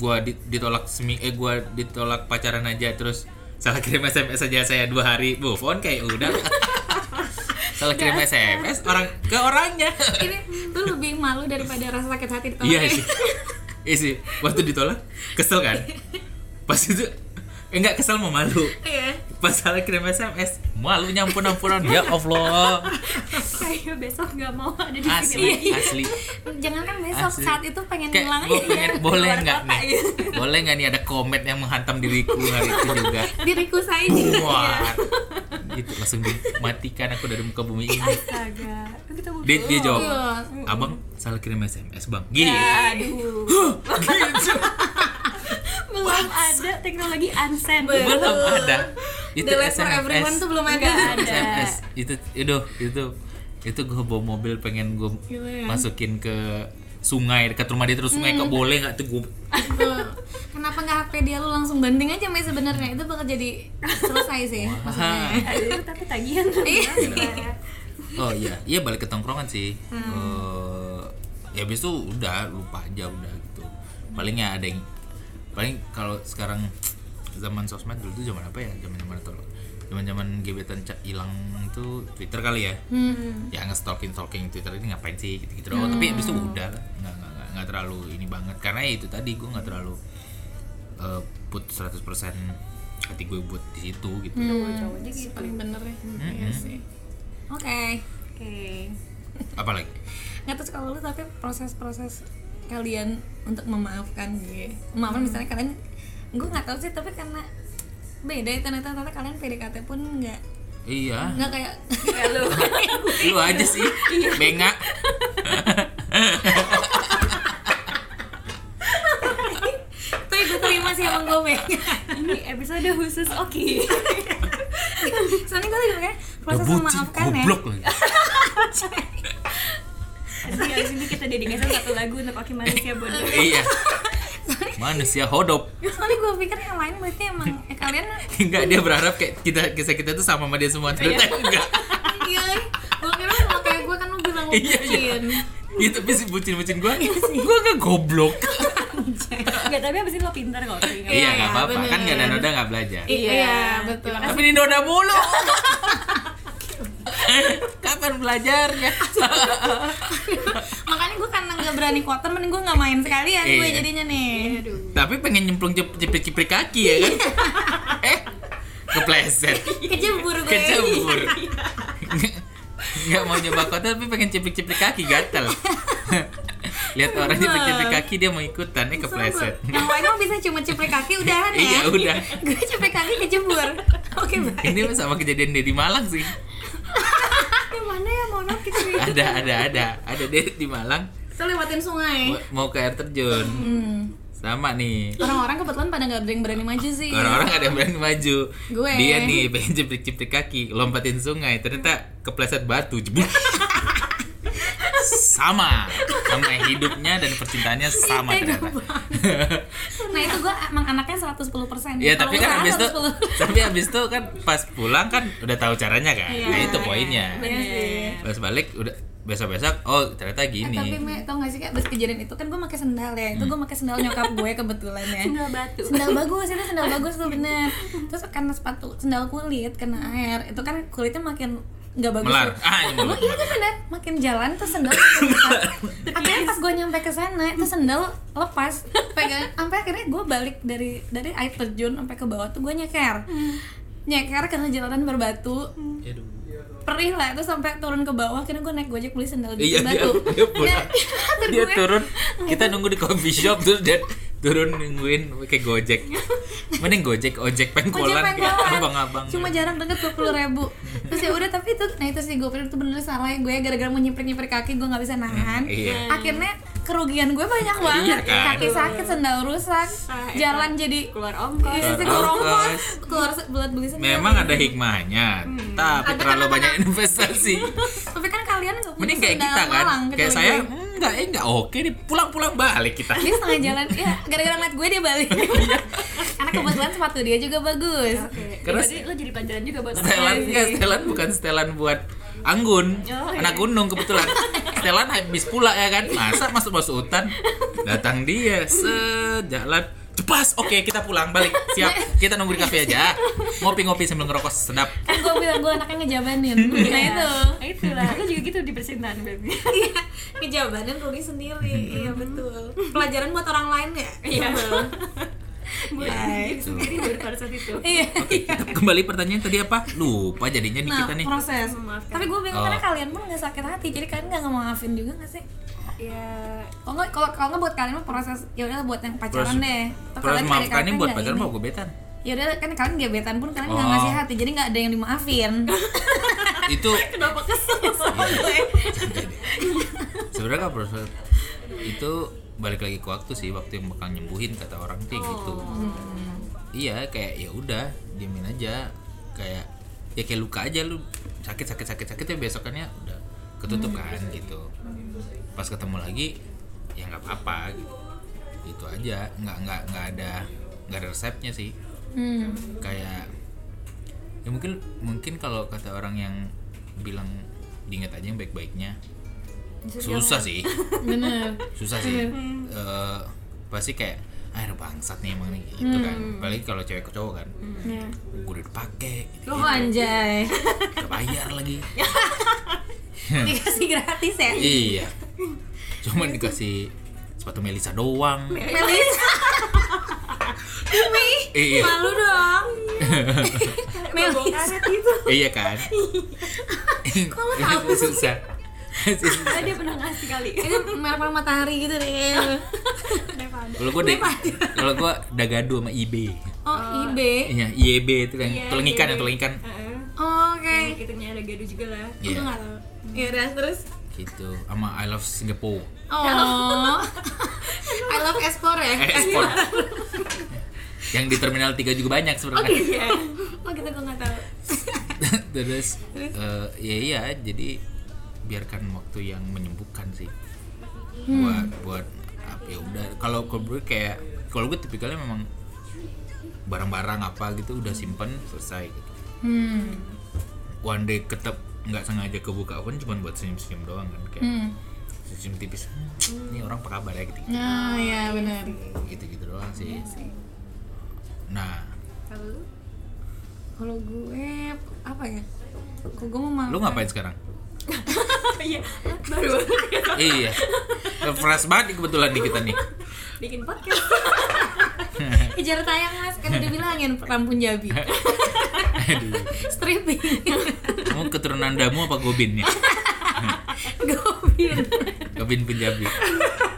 Speaker 4: gua di- ditolak semi eh gua ditolak pacaran aja terus salah kirim sms aja saya dua hari move on kayak udah salah kirim sms orang ke orangnya
Speaker 2: Ini tuh lebih malu daripada rasa sakit hati di
Speaker 4: iya sih iya sih waktu ditolak kesel kan pas itu eh, enggak kesel mau malu
Speaker 2: Iya.
Speaker 4: pas salah kirim sms malu nyampun ampunan ya allah
Speaker 3: kayak besok nggak mau ada di sini lagi.
Speaker 4: asli asli
Speaker 2: Jangan kan besok
Speaker 4: Asli.
Speaker 2: saat itu pengen
Speaker 4: Kayak
Speaker 2: hilang
Speaker 4: gua
Speaker 2: aja.
Speaker 4: pengen, boleh
Speaker 2: Keluar
Speaker 4: nggak
Speaker 2: kota,
Speaker 4: nih
Speaker 2: iya.
Speaker 4: boleh nggak nih ada komet yang menghantam diriku hari itu juga
Speaker 2: Diriku saja.
Speaker 4: wah
Speaker 2: Iya.
Speaker 4: gitu langsung dimatikan aku dari muka bumi ini
Speaker 3: astaga kan kita mau
Speaker 4: dia, dia jawab
Speaker 2: Iya.
Speaker 4: abang salah kirim sms bang gitu
Speaker 3: aduh
Speaker 4: Gitu.
Speaker 3: belum ada teknologi unsend
Speaker 4: belum ada itu
Speaker 2: The Lab for Everyone
Speaker 4: sms
Speaker 2: tuh belum ada.
Speaker 3: Nggak ada.
Speaker 4: sms itu itu itu itu gue bawa mobil pengen gue
Speaker 2: ya.
Speaker 4: masukin ke sungai dekat rumah dia terus sungai
Speaker 2: Hmm.
Speaker 4: kok boleh nggak tuh gue
Speaker 2: Tuh. Kenapa nggak HP dia lu langsung banding aja Mei sebenarnya itu bakal jadi selesai sih.
Speaker 3: aduh tapi tagihan tuh
Speaker 2: Iya.
Speaker 3: gimana?
Speaker 4: Oh iya, iya balik ke tongkrongan sih.
Speaker 2: Hmm.
Speaker 4: Eh, ya habis itu udah lupa aja udah gitu. Paling ya ada yang paling kalau sekarang zaman sosmed dulu tuh zaman apa ya? Zaman-zaman itu zaman-zaman gebetan cak hilang itu Twitter kali ya.
Speaker 2: Hmm.
Speaker 4: Ya nge-stalking stalking Twitter ini ngapain sih gitu-gitu doang. Tapi habis itu
Speaker 2: Hmm.
Speaker 4: udah lah. nggak nggak nggak- nggak terlalu ini banget karena ya itu tadi gue nggak terlalu eh, put 100% hati gue buat di situ gitu. Hmm.
Speaker 3: cowoknya gitu
Speaker 2: Paling bener ya. Hmm. Iya sih. Oke.
Speaker 3: oke
Speaker 4: Apalagi
Speaker 2: Nggak terus kalau lu tapi proses-proses kalian untuk memaafkan gue memaafkan misalnya kalian gue nggak tahu sih tapi karena beda ya ternyata ternyata kalian PDKT pun nggak
Speaker 4: iya.
Speaker 2: nggak kayak
Speaker 4: lu aja sih
Speaker 2: Iya.
Speaker 4: bengak
Speaker 2: tapi gue terima sih emang gue pengen
Speaker 3: ini episode khusus Oki
Speaker 2: soalnya gue juga kayak proses
Speaker 4: bucin
Speaker 2: memaafkan ya
Speaker 4: goblok lagi
Speaker 3: nanti habis ini kita dedikasikan satu lagu untuk Oki manusia bodoh
Speaker 4: iya manusia hodop
Speaker 2: soalnya gue pikir yang lain berarti emang ya kalian
Speaker 4: enggak dia berharap kayak kita kisah kita tuh sama sama dia semua ternyata enggak
Speaker 2: iya gue kira sama kayak gue kan lu bilang lu
Speaker 4: Iya, iya.
Speaker 2: bucin
Speaker 4: itu tapi si bucin bucin gue
Speaker 2: Iya
Speaker 4: gue gak goblok
Speaker 3: nggak tapi abis ini lo pintar kok Oki
Speaker 2: Iya,
Speaker 4: iya nggak apa-apa
Speaker 2: bener.
Speaker 4: kan nggak ada noda nggak belajar
Speaker 2: iya, betul
Speaker 4: tapi ini noda mulu kapan belajarnya
Speaker 2: makanya gue karena nggak berani kotor mending gue nggak main sekalian gue
Speaker 4: Iya.
Speaker 2: jadinya nih
Speaker 4: tapi pengen nyemplung ciprik ciprik kaki ya kan
Speaker 2: Iya.
Speaker 4: eh kepleset
Speaker 2: kecebur gue
Speaker 4: kecebur nggak mau nyoba kotor tapi pengen cipik-cipik kaki gatel lihat orang cipik-cipik kaki dia mau ikutan eh kepleset
Speaker 2: Sumpah. Yang lain mah bisa cuma ciprik kaki udahan ya.
Speaker 4: Iya, udah.
Speaker 2: Gue ciprik kaki kejebur. Oke, baik.
Speaker 4: ini sama kejadian dia di Malang sih
Speaker 2: Yang mana ya mau nop kita nih?
Speaker 4: ada ada ada ada dia di Malang
Speaker 2: Kita lewatin sungai.
Speaker 4: mau- mau ke air terjun sama nih
Speaker 2: Orang-orang kebetulan pada nggak ada yang berani maju sih.
Speaker 4: orang-orang ada yang berani maju
Speaker 2: Gue.
Speaker 4: dia nih pengen cipik-cipik kaki lompatin sungai ternyata kepleset batu jebuk sama sama hidupnya dan percintaannya sama ternyata
Speaker 2: Nah, itu gue emang anaknya 110%.
Speaker 4: Iya tapi
Speaker 2: Kalau
Speaker 4: kan abis
Speaker 2: usaha
Speaker 4: itu
Speaker 2: 110.
Speaker 4: tapi abis itu
Speaker 2: Iya,
Speaker 4: kan pas pulang kan udah tahu caranya kan. Nah itu poinnya.
Speaker 2: Bener sih.
Speaker 4: Pas balik udah besok-besok oh ternyata
Speaker 2: Eh,
Speaker 4: gini.
Speaker 2: tapi me, tau gak sih kayak abis kejadian itu kan gue pakai sendal ya itu gue pakai sendal nyokap gue kebetulan ya
Speaker 3: Sendal batu.
Speaker 2: sendal bagus itu sendal bagus tuh bener terus karena sepatu sendal kulit kena air itu kan kulitnya makin nggak bagus
Speaker 4: Melar.
Speaker 2: tuh.
Speaker 4: Ah, ini
Speaker 2: Lu
Speaker 4: melar.
Speaker 2: iya kan bener makin jalan tuh sendal makin besar. akhirnya pas gue nyampe ke sana itu sendal lepas pegang sampai akhirnya gue balik dari dari air terjun sampai ke bawah tuh gue nyeker nyeker karena jalanan berbatu
Speaker 4: Aduh.
Speaker 2: perih lah itu sampai turun ke bawah akhirnya gue naik gojek beli sendal di
Speaker 4: Iya dia,
Speaker 2: batu
Speaker 4: dia pulang.
Speaker 2: Kata
Speaker 4: dia
Speaker 2: gue,
Speaker 4: turun. Kita nunggu di coffee shop terus dia turun nungguin pakai gojek. Mending gojek
Speaker 2: Ojek
Speaker 4: ojek pengkolan kayak
Speaker 2: pengkolan.
Speaker 4: abang-abang.
Speaker 2: cuma jarak deket dua puluh ribu terus ya udah tapi itu nah itu sih gue pikir itu bener salah ya gue gara-gara mau nyimpen nyimpen kaki gue nggak bisa nahan
Speaker 4: Iya.
Speaker 2: akhirnya kerugian gue banyak banget
Speaker 4: Iya kan?
Speaker 2: kaki sakit sendal rusak
Speaker 3: Ah, itu.
Speaker 2: jalan jadi
Speaker 3: keluar ongkos
Speaker 2: Iya,
Speaker 4: Keluar
Speaker 2: keluar ongkos
Speaker 4: ongkos.
Speaker 2: keluar se- buat beli sendal
Speaker 4: Memang ada hikmahnya, tapi
Speaker 2: Hmm. Ada
Speaker 4: terlalu
Speaker 2: kenapa-
Speaker 4: banyak investasi.
Speaker 2: tapi kan kalian nggak punya
Speaker 4: Mending kayak
Speaker 2: sendal
Speaker 4: kita kan,
Speaker 2: malang gitu,
Speaker 4: kayak
Speaker 2: kecuali
Speaker 4: saya
Speaker 2: gue.
Speaker 4: enggak, eh, enggak oke nih pulang-pulang balik kita.
Speaker 2: dia setengah jalan ya gara-gara ngeliat gue dia balik karena kebetulan sepatu dia juga bagus
Speaker 4: Terus-
Speaker 2: iya,
Speaker 3: Jadi lo jadi pelajaran juga buat
Speaker 4: Setelan
Speaker 3: orang lain
Speaker 4: enggak,
Speaker 3: sih.
Speaker 4: setelan bukan setelan buat Anggun,
Speaker 3: Oh, iya.
Speaker 4: anak gunung kebetulan. setelan habis pula ya kan, masa masuk masuk hutan, datang dia sejalan, cepas, oke kita pulang balik, siap, kita nunggu di kafe aja, ngopi-ngopi sambil ngerokok sedap.
Speaker 2: kan gue bilang gue anaknya ngejabanin nah itu
Speaker 3: Nah, itulah lo juga gitu di percintaan berarti
Speaker 2: Iya, ngejabanin rugi sendiri iya betul pelajaran buat orang lain ya iya
Speaker 3: buat diri sendiri baru saat itu
Speaker 2: iya
Speaker 4: Kembali pertanyaan tadi apa? Lupa jadinya nih
Speaker 2: nah
Speaker 4: kita nih.
Speaker 2: proses
Speaker 3: Memaafkan.
Speaker 2: tapi gue bingung
Speaker 4: Oh.
Speaker 2: karena kalian pun nggak sakit hati jadi kalian nggak ngemaafin juga nggak sih Iya.
Speaker 3: ya
Speaker 2: kalau nggak kalau kalau nggak buat kalian mah proses ya udah buat yang pacaran
Speaker 4: Proses-
Speaker 2: deh Atau
Speaker 4: Terus maafkan ini
Speaker 2: kata
Speaker 4: buat
Speaker 2: nggak
Speaker 4: pacar
Speaker 2: ini.
Speaker 4: mau gue betan.
Speaker 2: ya udah kan kalian gebetan pun kalian nggak
Speaker 4: Oh.
Speaker 2: ngasih hati jadi nggak ada yang dimaafin
Speaker 4: Itu
Speaker 2: kenapa kesel sama gue
Speaker 4: sebenarnya kalau proses itu balik lagi ke waktu sih waktu yang bakal nyembuhin kata orang tuh ya gitu iya kayak ya udah diamin aja kayak ya kayak luka aja lu sakit sakit sakit sakit ya besokannya udah ketutup kan gitu pas ketemu lagi ya nggak apa-apa gitu itu aja nggak nggak nggak ada nggak ada resepnya sih
Speaker 2: hmm.
Speaker 4: kayak ya mungkin mungkin kalau kata orang yang bilang diingat aja yang baik-baiknya susah sih
Speaker 2: bener
Speaker 4: susah sih
Speaker 2: Hmm.
Speaker 4: Eh, pasti kayak ah ini bangsat nih emang nih gitu kan
Speaker 2: Hmm.
Speaker 4: apalagi kalau cewek ke cowok kan
Speaker 2: Iya.
Speaker 4: gue udah dipakai gitu,
Speaker 2: lo anjay
Speaker 4: udah bayar lagi
Speaker 2: Ya, dikasih gratis ya
Speaker 4: Hmm. iya
Speaker 2: Iya
Speaker 4: cuman dikasih sepatu Melisa doang
Speaker 2: Melisa
Speaker 4: iya
Speaker 2: malu dong Melisa
Speaker 3: karet itu
Speaker 4: iya kan
Speaker 2: Iya. tahu sih?
Speaker 4: susah
Speaker 3: Ah, dia pernah ngasih kali
Speaker 2: itu merek merek matahari gitu deh
Speaker 4: kalau gue deh kalau gue dagadu sama IB
Speaker 2: oh IB
Speaker 4: iya IEB itu kan
Speaker 2: E
Speaker 3: Iya,
Speaker 4: tulang ikan ya
Speaker 3: IB.
Speaker 4: tulang ikan
Speaker 2: Ah,
Speaker 3: Heeh.
Speaker 2: oke
Speaker 3: Kayak gitunya ada gaduh juga lah
Speaker 4: iya
Speaker 2: ya udah terus
Speaker 4: gitu sama I love Singapore
Speaker 2: oh I love Espor ya
Speaker 4: eh, ekspor yang di terminal 3 juga banyak sebenarnya
Speaker 3: iya
Speaker 2: oh gitu gue nggak tahu
Speaker 4: terus eh, ya iya jadi biarkan waktu yang menyembuhkan sih
Speaker 2: Hmm.
Speaker 4: buat buat apa ya udah kalau kalau gue kayak kalau gue tipikalnya memang barang-barang apa gitu udah simpen selesai gitu.
Speaker 2: hmm
Speaker 4: one day ketep nggak sengaja kebuka pun cuma buat senyum-senyum doang kan kayak
Speaker 2: hmm
Speaker 4: senyum tipis "Hmm, ini orang apa kabar ya gitu
Speaker 2: nah ya benar
Speaker 4: gitu gitu doang
Speaker 3: Iya
Speaker 4: sih nah
Speaker 3: kalau lu
Speaker 2: kalau gue apa ya kok gue mau malu
Speaker 4: lu ngapain sekarang
Speaker 3: iya baru gitu.
Speaker 4: iya fresh banget nih kebetulan di kita nih
Speaker 3: bikin podcast
Speaker 2: Kejar tayang mas, kan udah bilangin Rampun Jabi
Speaker 4: Aduh.
Speaker 2: Stripping
Speaker 4: Kamu keturunan damu apa gobin ya?
Speaker 2: Gobin
Speaker 4: Gobin Punjabi.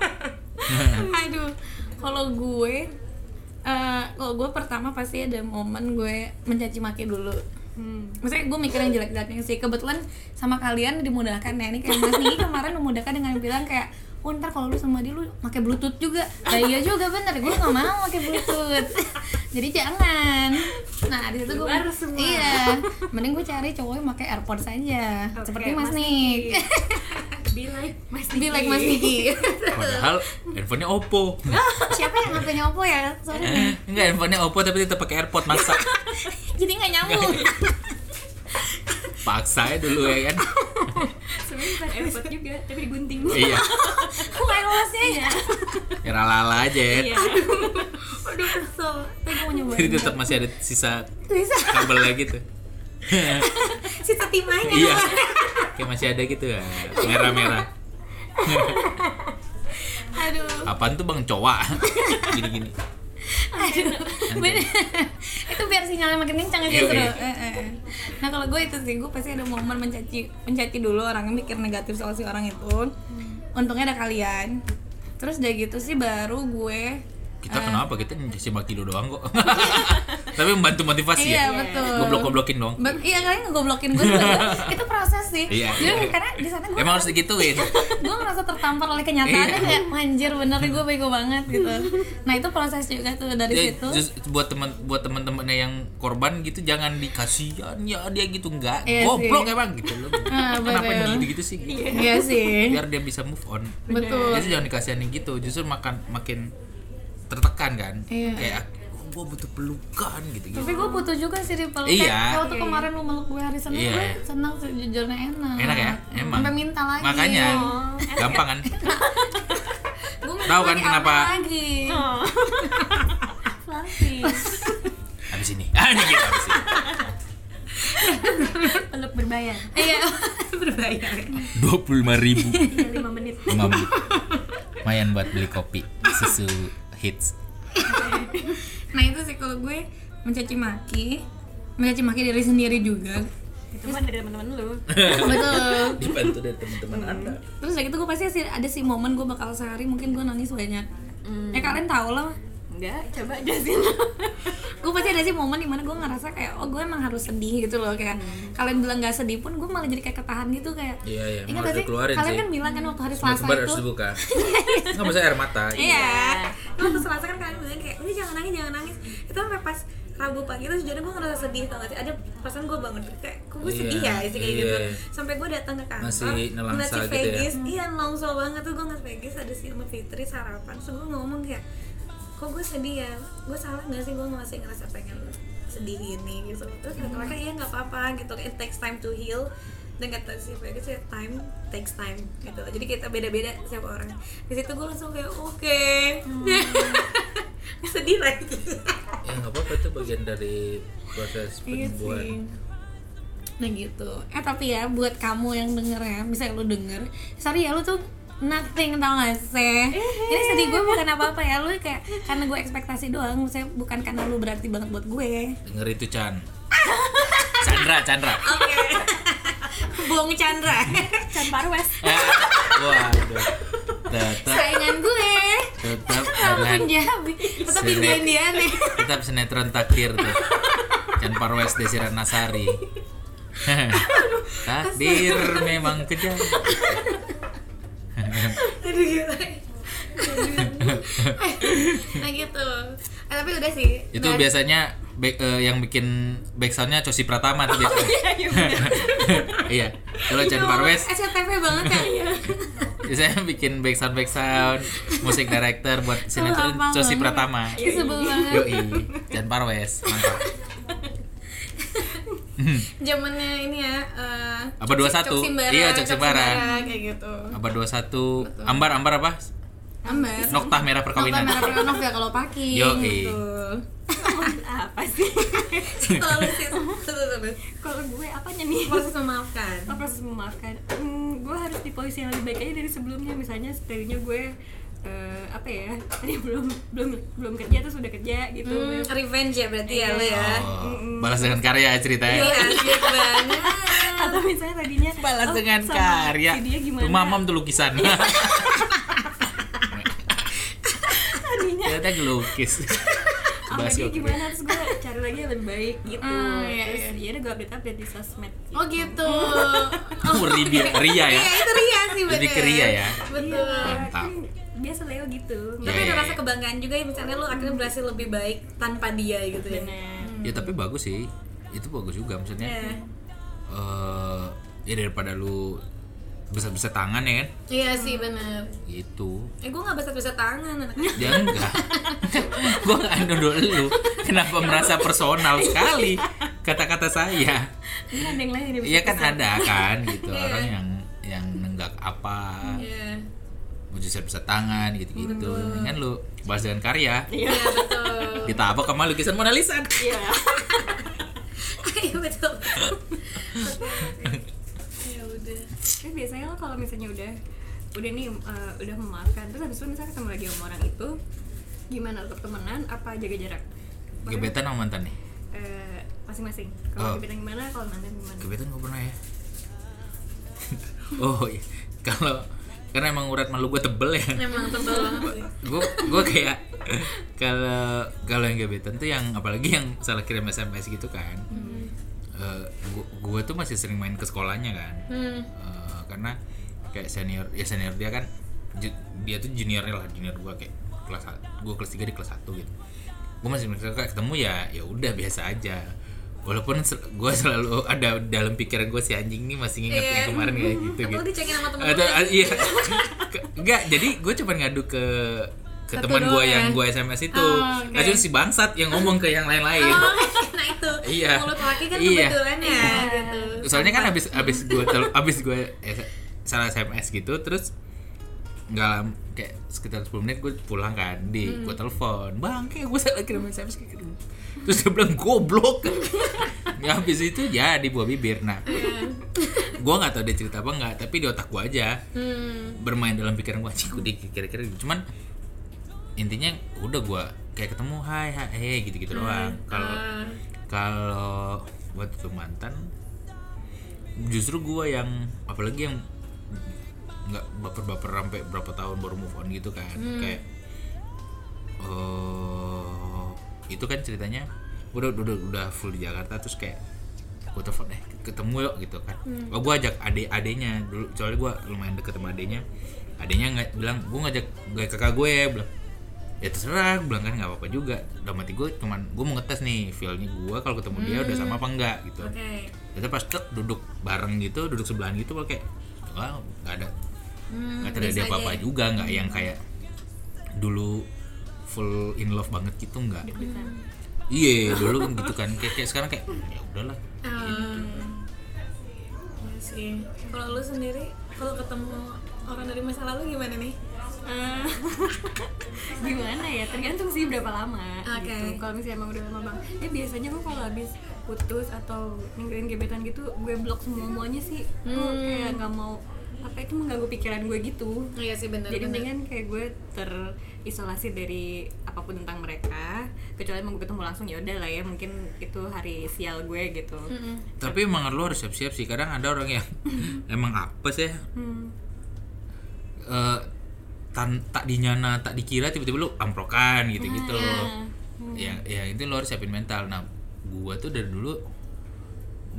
Speaker 2: Aduh Kalau gue eh Kalau gue pertama pasti ada momen gue mencaci maki dulu
Speaker 3: hmm.
Speaker 2: Maksudnya gue mikir yang jelek-jeleknya sih Kebetulan sama kalian dimudahkan ya Ini kayak Mas Niki kemarin memudahkan dengan bilang kayak Oh ntar kalau lu sama dia lu pakai bluetooth juga Nah iya juga bener, gue gak mau pakai bluetooth Jadi jangan Nah di situ gue
Speaker 3: Keluar semua.
Speaker 2: Iya Mending gue cari cowok yang pakai airpods aja
Speaker 3: Oke,
Speaker 2: Seperti Mas,
Speaker 3: Mas
Speaker 2: Nik
Speaker 3: be like mas
Speaker 2: Be like Mas Niki
Speaker 4: Padahal handphonenya Oppo. Eh,
Speaker 2: Siapa yang HP-nya Oppo ya? Sorry nih
Speaker 4: Enggak, handphonenya Oppo tapi tetap pakai AirPod maksa.
Speaker 2: Jadi gak nyambung
Speaker 4: Paksa ya dulu ya kan.
Speaker 3: sebenarnya bukan effort juga tapi digunting
Speaker 4: iya
Speaker 2: Kayak lolosnya ya
Speaker 4: ya lala aja ya
Speaker 3: iya
Speaker 2: Aduh kesel Tapi gue mau nyobain
Speaker 4: jadi tetap masih ada sisa
Speaker 2: Bisa
Speaker 4: kabelnya gitu
Speaker 2: Sisa timahnya
Speaker 4: iya kayak masih ada gitu ya merah merah
Speaker 2: Aduh
Speaker 4: apaan tuh bang cowa gini gini
Speaker 2: Aduh Bener. Itu biar sinyalnya makin kencang aja
Speaker 4: Iya,
Speaker 2: seru
Speaker 4: iya.
Speaker 2: Eh, eh, eh. Nah kalau gue itu sih Gue pasti ada momen mencaci Mencaci dulu orangnya mikir negatif soal si orang itu Untungnya ada kalian Terus udah gitu sih baru gue
Speaker 4: kita
Speaker 2: Eh.
Speaker 4: kenapa kita nyisi baki lu doang kok tapi membantu motivasi
Speaker 2: Iya
Speaker 4: ya
Speaker 2: betul
Speaker 4: goblok goblokin dong
Speaker 2: Be- iya kalian ngegoblokin gue juga. itu proses sih.
Speaker 4: Iya,
Speaker 2: Jadi
Speaker 4: iya.
Speaker 2: karena di sana gue
Speaker 4: emang harus digituin
Speaker 2: gue ngerasa tertampar oleh kenyataannya
Speaker 4: Iya.
Speaker 2: kayak manjir bener nih gue bego banget gitu. Nah itu proses juga tuh dari
Speaker 4: Ya,
Speaker 2: situ.
Speaker 4: just buat teman buat teman-temannya yang korban gitu jangan dikasihan ya dia gitu enggak
Speaker 2: Iya
Speaker 4: goblok
Speaker 2: sih.
Speaker 4: emang gitu loh
Speaker 2: Ah,
Speaker 4: kenapa
Speaker 2: bener.
Speaker 4: begitu gitu sih gitu.
Speaker 2: Iya sih.
Speaker 4: biar dia bisa move on
Speaker 2: Betul.
Speaker 4: Justru jangan dikasihanin gitu, justru makan makin tertekan kan.
Speaker 2: Iya.
Speaker 4: Kayak gue butuh pelukan gitu gitu.
Speaker 2: Tapi gue butuh juga sih dipeluk.
Speaker 4: Iya.
Speaker 2: Kayak Waktu kemarin lu meluk gue hari Senin, gue
Speaker 4: Iya.
Speaker 2: senang sih jujurnya enak.
Speaker 4: Enak ya, emang.
Speaker 2: Sampai minta lagi. Oh.
Speaker 4: Makanya gampang kan.
Speaker 2: Gue minta
Speaker 4: Tahu kan
Speaker 2: lagi,
Speaker 4: kenapa?
Speaker 2: apa Lagi.
Speaker 4: Habis ini. Ah, ini gitu, habis ini.
Speaker 3: peluk berbayar
Speaker 2: Iya. Berbayar.
Speaker 4: 25 ribu.
Speaker 3: Iya, lima menit
Speaker 4: Lumayan buat beli kopi, susu hits.
Speaker 2: Nah itu sih kalau gue mencaci maki, mencaci maki diri sendiri juga.
Speaker 3: itu mah dari teman-teman lu
Speaker 2: Betul.
Speaker 4: Dibantu dari teman-teman
Speaker 2: Hmm.
Speaker 4: Anda.
Speaker 2: terus dari itu gue pasti sih ada sih momen gue bakal sehari mungkin gue nangis banyak ya kalian tau lah
Speaker 3: enggak coba jelasin
Speaker 2: gue pasti ada sih momen dimana gue ngerasa kayak oh gue emang harus sedih gitu loh kayak kalian bilang gak sedih pun gue malah jadi kayak ketahan gitu kayak
Speaker 4: Hmm. Iya, iya,
Speaker 2: ingat
Speaker 4: harus
Speaker 2: gak sih
Speaker 4: dikeluarin
Speaker 2: kalian
Speaker 4: sih.
Speaker 2: kan bilang kan waktu hari
Speaker 4: Semua
Speaker 2: selasa
Speaker 4: kembar harus
Speaker 2: itu
Speaker 4: dibuka. Enggak maksudnya air mata.
Speaker 2: iya waktu selasa kan kalian bilang kayak udah jangan nangis jangan nangis itu sampai pas Rabu pagi terus jadi gue ngerasa sedih tau gak sih ada perasaan gue bangun tidur, kayak kok gue sedih
Speaker 4: Iya,
Speaker 2: ya sih kayak
Speaker 4: iya.
Speaker 2: gitu sampai gue datang ke kantor
Speaker 4: Masih nelangsa
Speaker 2: ngeliat si
Speaker 4: gitu ya.
Speaker 2: Vegas iya nelangsa banget tuh gue ngeliat Vegas ada si sama Fitri sarapan terus gue ngomong kayak kok gue sedih ya gue salah gak sih gue masih ngerasa pengen sedih gini gitu terus kata mereka iya nggak apa-apa gitu it takes time to heal dan kata si Vegas ya time takes time gitu jadi kita beda-beda setiap orang di situ gue langsung kayak oke sedih lagi
Speaker 4: Ya enggak apa-apa itu bagian dari proses
Speaker 2: Iya
Speaker 4: penyembuhan.
Speaker 2: sih. Nah gitu. Eh tapi ya buat kamu yang denger ya, misalnya lu denger, sorry ya lu tuh nothing tau gak sih? Ini sedih gue bukan apa-apa ya, lu kayak karena gue ekspektasi doang, misalnya bukan karena lu berarti banget buat gue.
Speaker 4: Denger itu Chan. Chandra, Chandra.
Speaker 2: Oke. Bong Chandra,
Speaker 3: Can Parwes
Speaker 4: Eh, Waduh. Tetap
Speaker 2: saingan gue.
Speaker 4: tetap
Speaker 2: Kamu
Speaker 4: dengan
Speaker 2: Punjabi, tetap
Speaker 4: Sinet.
Speaker 2: Indian ya.
Speaker 4: tetap sinetron takdir tuh Chan Parwes Desi Ratnasari takdir memang kejam
Speaker 2: Aduh gila. nah gitu. Eh, tapi udah sih.
Speaker 4: itu
Speaker 2: Nah,
Speaker 4: biasanya back, eh, yang bikin backsoundnya Cosi Pratama tuh
Speaker 2: Oh,
Speaker 4: biasanya
Speaker 2: iya,
Speaker 4: iya kalau Chan Parwes
Speaker 2: SCTV banget kan
Speaker 4: biasanya bikin backsound backsound musik director buat sinetron
Speaker 2: Lama
Speaker 4: Cosi
Speaker 2: banget. Iya.
Speaker 4: Pratama
Speaker 2: Ih, sebel banget
Speaker 4: yoi Chan Parwes mantap
Speaker 2: zamannya ini ya eh,
Speaker 4: Apa 21?
Speaker 2: Cok Simbara,
Speaker 4: Iya, Cok Simbara.
Speaker 2: kayak gitu
Speaker 4: Abad 21 Ambar Ambar apa?
Speaker 2: ambar
Speaker 4: Noktah merah perkawinan Oh,
Speaker 2: Nokta merah Renov ya kalau paki
Speaker 4: Yoi.
Speaker 2: gitu
Speaker 3: apa sih
Speaker 2: terlalu sih terus terus
Speaker 3: kalau gue apanya nih
Speaker 2: proses memaafkan
Speaker 3: apa proses memaafkan hmm, gue harus di posisi yang lebih baik aja dari sebelumnya misalnya tadinya gue eh, apa ya tadi belum belum belum kerja terus udah kerja gitu
Speaker 2: hmm, revenge ya berarti ya
Speaker 3: Iya.
Speaker 2: lo ya
Speaker 4: Oh, balas dengan karya ceritanya.
Speaker 2: Iya, asik banget
Speaker 3: atau misalnya tadinya
Speaker 4: balas
Speaker 3: oh,
Speaker 4: dengan
Speaker 3: sama
Speaker 4: karya.
Speaker 3: si dia gimana
Speaker 4: Tuh mamam tuh lukisan.
Speaker 2: Iya.
Speaker 4: Ternyata lukis.
Speaker 3: sama
Speaker 4: Bahas
Speaker 3: dia
Speaker 4: yuk.
Speaker 3: gimana terus gue cari lagi yang lebih baik gitu
Speaker 2: Hmm, iya,
Speaker 3: terus
Speaker 2: iya.
Speaker 3: ya udah gue update update di sosmed gitu.
Speaker 2: oh gitu
Speaker 4: Oh, ria, ria
Speaker 2: Iya,
Speaker 4: ya.
Speaker 2: itu ria sih bener
Speaker 4: Jadi ke ria ya.
Speaker 2: betul
Speaker 4: Mantap.
Speaker 3: Kan biasa Leo gitu
Speaker 4: Iya.
Speaker 2: tapi ada rasa kebanggaan juga ya misalnya lo akhirnya berhasil lebih baik tanpa dia gitu ya
Speaker 3: benar
Speaker 4: Ya tapi bagus sih. Itu bagus juga maksudnya.
Speaker 2: Iya.
Speaker 4: eh, ya daripada lu besar-besar tangan ya kan.
Speaker 2: Iya sih bener
Speaker 4: Gitu.
Speaker 2: Eh gue gak besar-besar tangan anaknya
Speaker 4: Ya enggak Gue gak nuduh lu Kenapa merasa personal sekali Kata-kata saya
Speaker 3: ini ada yang lain yang bisa
Speaker 4: Iya kan ada kan gitu
Speaker 2: Iya.
Speaker 4: Orang yang yang nenggak apa
Speaker 2: Iya.
Speaker 4: wujud besar tangan gitu-gitu kan lu bahas dengan karya
Speaker 2: Iya, betul.
Speaker 4: kita apa kemana lukisan Mona Lisa
Speaker 2: Iya. Iya, betul. Ya udah.
Speaker 3: Tapi Eh, biasanya lo kalau misalnya udah udah nih eh, udah memaafkan terus habis itu misalnya ketemu lagi sama orang itu gimana lo pertemanan apa jaga jarak? Maksudnya,
Speaker 4: gebetan sama mantan nih
Speaker 3: eh, masing-masing.
Speaker 4: Oh.
Speaker 3: Kalau gebetan gimana, kalau mantan gimana?
Speaker 4: gebetan gak pernah ya oh iya. kalau karena emang urat malu gue tebel ya
Speaker 2: Emang tebel banget sih.
Speaker 4: gue gue kayak kalau kalau yang gebetan tuh yang apalagi yang salah kirim sms gitu kan gue Eh, tuh masih sering main ke sekolahnya kan
Speaker 2: Hmm.
Speaker 4: Eh, karena kayak senior ya senior dia kan ju- dia tuh juniornya lah junior gue kayak kelas gue kelas 3 di kelas 1 gitu gue masih merasa kayak ketemu ya ya udah biasa aja walaupun gue selalu ada dalam pikiran gue si anjing nih masih nginget
Speaker 2: Iya.
Speaker 4: yang kemarin kayak gitu
Speaker 2: Atau
Speaker 4: gitu
Speaker 2: dicekin sama temen
Speaker 4: atau ah, iya Ke- enggak jadi gue cuma ngadu ke ke
Speaker 2: Satu
Speaker 4: teman gue
Speaker 2: doang
Speaker 4: yang
Speaker 2: ya?
Speaker 4: gue sms itu
Speaker 2: Oh, oke.
Speaker 4: akhirnya si bangsat yang ngomong ke yang lain-lain
Speaker 2: nah itu.
Speaker 4: Iya.
Speaker 2: Mulut laki kan
Speaker 4: Iya.
Speaker 2: kebetulan ya. gitu.
Speaker 4: soalnya kan abis abis gue tel- abis gue es- salah sms gitu terus nggak lam- kayak sekitar 10 menit gue pulang kan di
Speaker 2: Hmm.
Speaker 4: gue telepon bang kayak gue salah kirim sms kayak gitu." terus dia bilang goblok ya habis itu jadi buah bibir nah gue nggak tahu dia cerita apa nggak tapi di otak gue aja
Speaker 2: Hmm.
Speaker 4: bermain dalam pikiran gue sih kira-kira gitu." cuman intinya udah gue kayak ketemu hai hai hey, gitu-gitu doang kalau
Speaker 2: Hmm. Ah.
Speaker 4: kalau buat ke mantan justru gua yang apalagi yang nggak baper-baper sampai berapa tahun baru move on gitu kan kayak eh itu kan ceritanya udah udah udah full di Jakarta terus kayak gue telepon eh ketemu yuk gitu kan oh, gue ajak adik adenya dulu soalnya gue lumayan deket sama adenya adenya nggak bilang gue ngajak gue kakak gue bilang ya terserah gue bilang kan nggak apa-apa juga dalam hati gue cuman gue mau ngetes nih feelnya gue kalau ketemu dia udah sama apa enggak gitu
Speaker 2: Oke.
Speaker 4: itu pas tek duduk bareng gitu duduk sebelahan gitu gua kayak wah nggak ada
Speaker 2: Hmm,
Speaker 4: nggak
Speaker 2: biasa
Speaker 4: terjadi apa apa
Speaker 2: aja.
Speaker 4: juga nggak yang kayak dulu full in love banget gitu nggak iya dulu kan gitu kan kayak, kayak sekarang kayak ya udahlah
Speaker 2: Hmm. Iya sih. Kalau lu sendiri, kalau ketemu orang dari masa lalu gimana nih? Eh,
Speaker 3: gimana ya tergantung sih berapa lama
Speaker 2: Oke.
Speaker 3: gitu kalau misalnya emang udah lama bang ya biasanya gue kalau habis putus atau ninggalin gebetan gitu gue blok semua semuanya sih Gua
Speaker 2: Hmm.
Speaker 3: kayak nggak mau apa itu mengganggu pikiran gue gitu
Speaker 2: iya sih benar.
Speaker 3: jadi mendingan kayak gue terisolasi dari apapun tentang mereka kecuali emang gue ketemu langsung ya udah lah ya mungkin itu hari sial gue gitu
Speaker 4: tapi emang lu harus siap-siap sih kadang ada orang yang emang apes ya
Speaker 3: Hmm.
Speaker 4: eh, tan tak dinyana tak dikira tiba-tiba lu amprokan gitu-gitu
Speaker 3: Ah, iya.
Speaker 4: ya
Speaker 3: Hmm.
Speaker 4: ya itu lo harus siapin mental nah gua tuh dari dulu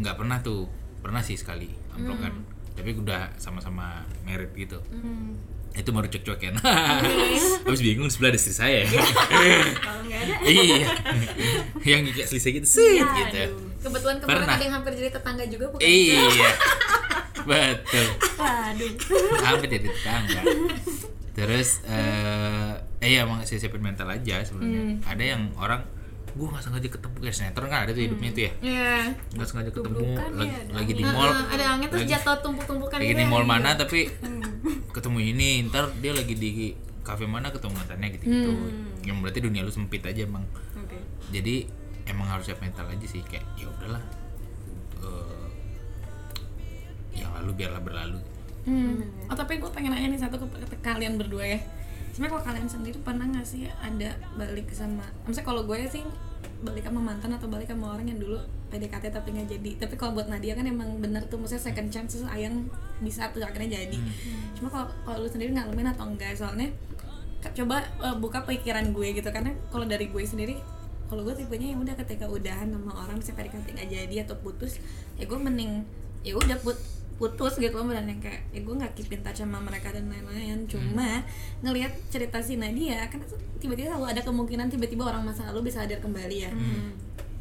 Speaker 4: nggak pernah tuh pernah sih sekali amprokan
Speaker 3: Hmm.
Speaker 4: tapi udah sama-sama merit gitu
Speaker 2: Hmm.
Speaker 4: itu baru cek-cekin habis bingung di sebelah ada istri saya ya
Speaker 3: Iya. kalau nggak ada Iya,
Speaker 4: iya yang gigit selisih gitu sih gitu
Speaker 2: Kebetulan kemarin
Speaker 4: Pernah.
Speaker 2: ada yang hampir jadi tetangga juga bukan? gitu.
Speaker 4: iya betul
Speaker 3: aduh
Speaker 4: sampai jadi tetangga terus eh eh ya emang siapin mental
Speaker 2: Hmm.
Speaker 4: aja sebenarnya ada yang orang gua nggak sengaja ketemu kayak sinetron kan ada tuh hidupnya tuh ya
Speaker 2: Iya.
Speaker 4: nggak sengaja ketemu lagi, lagi di
Speaker 2: Heeh,
Speaker 4: mall
Speaker 2: ya ada angin terus
Speaker 4: lagi,
Speaker 2: jatuh tumpuk-tumpukan gitu ya.
Speaker 4: lagi di
Speaker 2: iya.
Speaker 4: mall mana tapi
Speaker 2: Hmm.
Speaker 4: ketemu ini ntar dia lagi di kafe mana ketemu mantannya gitu gitu
Speaker 2: Hmm.
Speaker 4: yang berarti dunia lu sempit aja emang
Speaker 3: oke
Speaker 4: jadi emang harus siap mental aja sih kayak ya udahlah eh, yang lalu biarlah berlalu
Speaker 2: Hmm. Oh tapi gue pengen nanya nih satu ke, ke kalian berdua ya. Sebenarnya kalau kalian sendiri pernah nggak sih ada balik sama, maksudnya kalau gue sih balik sama mantan atau balik sama orang yang dulu PDKT tapi nggak jadi. Tapi kalau buat Nadia kan emang bener tuh, maksudnya second chance tuh ayang bisa tuh akhirnya jadi. Cuma kalau kalau lu sendiri ngalamin atau enggak soalnya ke- coba eh, buka pikiran gue gitu karena kalau dari gue sendiri kalau gue tipenya yang udah ketika udahan sama orang misalnya PDKT nggak jadi atau putus ya gue mending ya udah put putus gitu loh beneran yang kayak ya gue nggak keep in touch sama mereka dan lain-lain cuma ngelihat cerita si Nadia kan itu tiba-tiba selalu ada kemungkinan tiba-tiba orang masa lalu bisa hadir kembali ya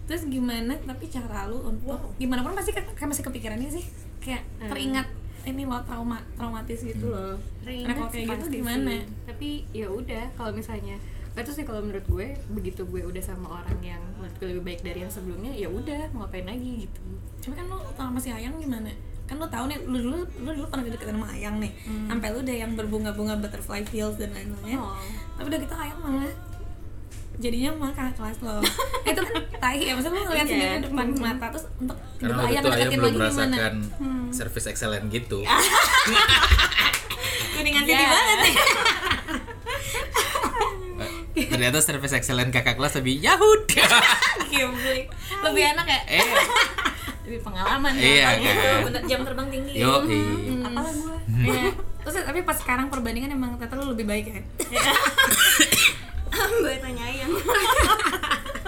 Speaker 2: terus gimana tapi cara lu untuk gimana pun pasti kan kan masih kepikirannya sih kayak
Speaker 3: Hmm.
Speaker 2: teringat ini loh trauma traumatis gitu loh karena kalau kayak gitu
Speaker 3: Pasti
Speaker 2: gimana
Speaker 3: Hmm. sih. tapi ya udah kalau misalnya Nah, terus sih kalau menurut gue begitu gue udah sama orang yang menurut gue lebih baik dari yang sebelumnya ya udah mau ngapain lagi gitu
Speaker 2: cuma kan lu sama si Ayang gimana kan lu tahu nih lu dulu lu dulu pernah deketan sama Ayang nih sampai lu udah yang berbunga-bunga butterfly fields dan lain-lain
Speaker 3: Hmm. Oh.
Speaker 2: tapi udah gitu Ayang malah jadinya malah kakak kelas lo itu kan tai ya maksudnya lu ngeliat
Speaker 3: Iya.
Speaker 2: sendiri depan mata terus untuk
Speaker 4: karena
Speaker 2: untuk
Speaker 4: waktu
Speaker 2: Ayang
Speaker 4: itu ayam
Speaker 2: deketin
Speaker 4: belum
Speaker 2: lagi gimana Hmm. Ah.
Speaker 4: merasakan service excellent gitu
Speaker 2: kuningan
Speaker 3: Iya.
Speaker 2: sedih banget nih
Speaker 4: Eh, ternyata service excellent kakak kelas lebih yahut
Speaker 3: Iya,
Speaker 2: Gimli. lebih enak ya
Speaker 4: eh
Speaker 3: lebih pengalaman ya
Speaker 4: iya
Speaker 3: orangnya.
Speaker 4: kan
Speaker 2: Bener, jam terbang tinggi
Speaker 4: yo
Speaker 2: Hmm.
Speaker 3: apalah gue
Speaker 2: Iya. terus tapi pas sekarang perbandingan emang ternyata lu lebih baik ya
Speaker 3: gue tanya yang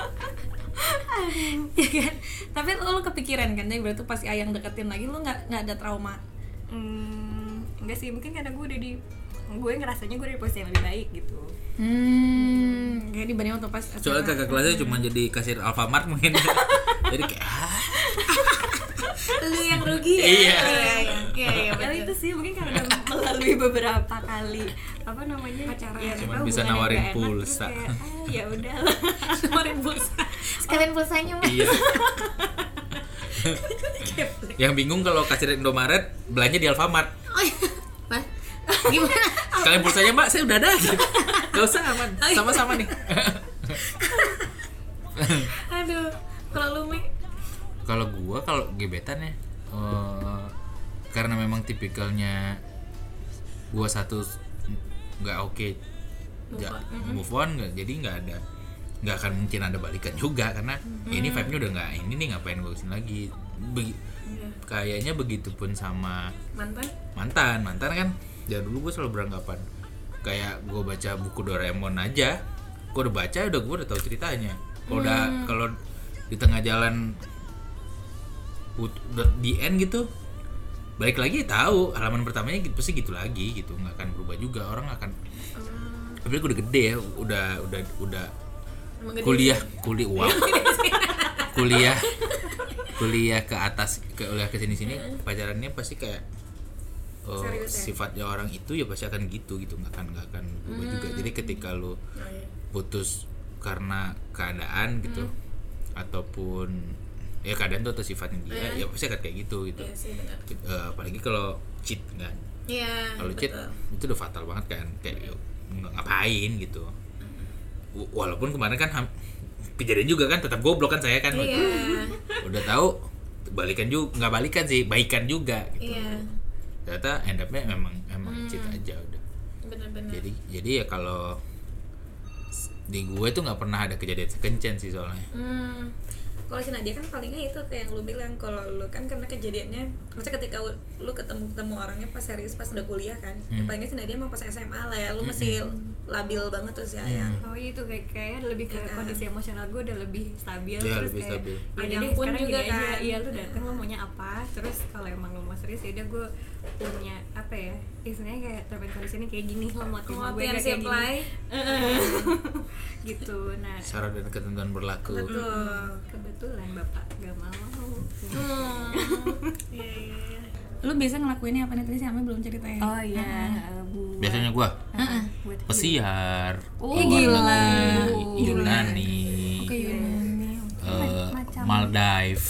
Speaker 2: Iya kan? Tapi lu, lu kepikiran kan, jadi berarti pas si Ayang deketin lagi lu nggak nggak ada trauma.
Speaker 3: Hmm, enggak sih mungkin karena gue udah di gue ngerasanya gue udah di posisi yang lebih baik gitu
Speaker 2: Hmm, kayak dibanding waktu pas SMA.
Speaker 4: soalnya kakak kelasnya cuma jadi kasir Alfamart mungkin jadi kayak ah,
Speaker 2: lu yang rugi ya.
Speaker 4: Iya.
Speaker 2: Iya, iya,
Speaker 3: ya
Speaker 2: betul.
Speaker 3: itu sih mungkin karena udah melalui beberapa kali apa namanya pacaran ya,
Speaker 4: Cuman
Speaker 3: karena
Speaker 4: bisa
Speaker 3: hubungan yang
Speaker 4: nawarin
Speaker 3: nggak enak, terus
Speaker 4: pulsa.
Speaker 3: kayak, ah, ya udah lah
Speaker 2: Kemarin pulsa. Sekalian pulsanya mah.
Speaker 4: iya yang bingung kalau kasir Indomaret belanja di Alfamart
Speaker 2: Mas, gimana?
Speaker 4: kalian pulsanya mbak saya udah ada gitu. gak usah aman sama-sama nih
Speaker 2: Aduh, kalau lu Mi
Speaker 4: kalau gua kalau gebetan ya eh, karena memang tipikalnya gua satu s- nggak oke ja- move on Mm-hmm. nggak jadi nggak ada nggak akan mungkin ada balikan juga karena ya ini vibe nya udah nggak ini nih ngapain gua kesini lagi Begi- kayaknya begitu pun sama
Speaker 2: mantan
Speaker 4: mantan mantan kan dari dulu gue selalu beranggapan kayak gue baca buku Doraemon aja gue udah baca udah gue udah tahu ceritanya kalau udah kalau di tengah jalan put- udah di end gitu balik lagi tahu halaman pertamanya gitu, pasti gitu lagi gitu nggak akan berubah juga orang akan tapi gue udah gede ya udah udah udah
Speaker 2: Emang
Speaker 4: kuliah kuliah wow kuliah kuliah ke atas ke kuliah ke sini sini pacarannya pasti kayak oh, sifatnya orang itu ya pasti akan gitu gitu nggak akan nggak akan berubah juga jadi ketika
Speaker 2: Oh,
Speaker 4: lo
Speaker 2: iya.
Speaker 4: putus karena keadaan gitu ataupun ya keadaan tuh atau sifatnya dia ya pasti akan kayak gitu gitu
Speaker 2: Iya sih benar.
Speaker 4: Eh, apalagi kalau cheat kan
Speaker 2: Iya.
Speaker 4: kalau cheat itu udah fatal banget kan kayak yuk, ng- ngapain gitu W- walaupun kemarin kan ham- kejadian juga kan tetap goblok kan saya kan
Speaker 2: Iya,
Speaker 4: udah tahu balikan juga nggak balikan sih baikan juga gitu
Speaker 2: Iya.
Speaker 4: ternyata end up-nya memang emang
Speaker 2: Hmm.
Speaker 4: cheat aja udah
Speaker 2: Benar-benar.
Speaker 4: jadi jadi ya kalau s- di gue tuh nggak pernah ada kejadian sekencen sih soalnya
Speaker 2: Hmm. Kalau si Nadia kan palingnya itu kayak yang lu bilang kalau lu kan karena kejadiannya maksudnya ketika lu ketemu ketemu orangnya pas serius pas udah kuliah kan
Speaker 4: Hmm.
Speaker 2: palingnya si Nadia mah pas SMA lah ya lu masih labil banget tuh si
Speaker 4: Hmm.
Speaker 2: Ayang
Speaker 3: oh itu kayak kayak lebih ke kondisi emosional gue udah lebih stabil
Speaker 4: Iya,
Speaker 3: terus
Speaker 4: lebih
Speaker 3: kayak
Speaker 4: stabil.
Speaker 3: ya
Speaker 2: Ada
Speaker 3: udah deh
Speaker 2: pun
Speaker 3: sekarang
Speaker 2: juga
Speaker 3: gini aja
Speaker 2: kan.
Speaker 3: iya lu datang lu maunya apa terus kalau emang lu mau serius ya udah gue punya apa ya istilahnya kayak terbaik kondisi ini kayak gini lo mau terima
Speaker 2: Mau
Speaker 3: gue
Speaker 2: yang
Speaker 3: nggak
Speaker 2: si
Speaker 3: kayak gini hmm.
Speaker 2: apply
Speaker 3: gitu nah
Speaker 4: syarat dan ketentuan berlaku
Speaker 2: betul
Speaker 3: kebetulan bapak gak mau Iya,
Speaker 2: lu biasa ngelakuinnya apa nih tadi sama belum ceritain
Speaker 3: oh iya buat
Speaker 4: biasanya gue
Speaker 3: buat
Speaker 4: pesiar
Speaker 2: Oh,
Speaker 4: luar
Speaker 2: gila.
Speaker 4: negeri,
Speaker 2: Gila.
Speaker 4: Yunani
Speaker 2: oke iya.
Speaker 4: eh, Maldive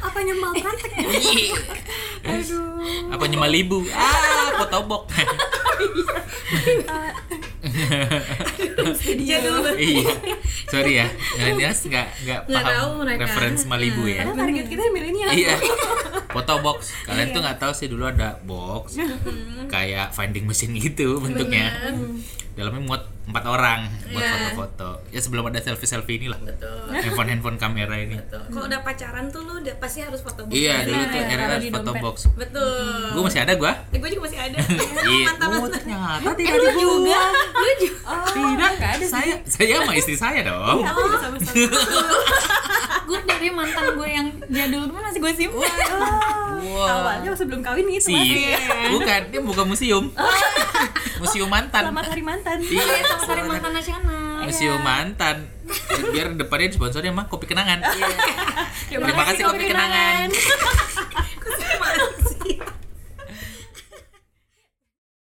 Speaker 3: apanya mau
Speaker 2: Eh,
Speaker 3: praktek
Speaker 4: Aduh. Apa nyemalibu? Ah, potobok.
Speaker 2: jadul banget.
Speaker 4: iya. Sorry ya. Millennials nggak nggak
Speaker 2: Nggak tahu
Speaker 4: paham
Speaker 2: mereka.
Speaker 4: reference Malibu ya.
Speaker 3: karena target kita milenial
Speaker 4: iya. Foto box. Kalian tuh nggak tahu sih dulu ada box kayak finding machine gitu bentuknya. Dalamnya muat empat orang buat
Speaker 2: Iya.
Speaker 4: foto-foto. Ya sebelum ada selfie-selfie inilah. Handphone-handphone kamera ini.
Speaker 2: kalau udah pacaran tuh lu udah pasti harus foto box
Speaker 4: Iya, dulu
Speaker 2: Benar.
Speaker 4: tuh era
Speaker 3: di
Speaker 4: foto
Speaker 3: dompet.
Speaker 4: box.
Speaker 2: betul
Speaker 4: Gue masih ada gua.
Speaker 2: Eh, gue juga masih ada
Speaker 4: Iya.
Speaker 2: mantan
Speaker 4: Oh,
Speaker 2: mantan eh,
Speaker 4: ternyata
Speaker 2: lu juga lu juga
Speaker 3: Oh.
Speaker 2: kan?
Speaker 4: tidak. Saya saya sama istri saya dong.
Speaker 2: gue dari mantan gue yang jadul pun masih gue simpen
Speaker 4: Wow.
Speaker 3: Oh. awalnya sebelum kawin gitu, itu
Speaker 4: Si, bukan dia buka museum. museum mantan.
Speaker 3: Oh. selamat hari mantan
Speaker 4: Iya,
Speaker 2: sama dari mantan nasional
Speaker 4: museum mantan.
Speaker 3: Iya.
Speaker 4: Biar depannya disponsorin sama kopi kenangan. Terima kasih kopi kenangan.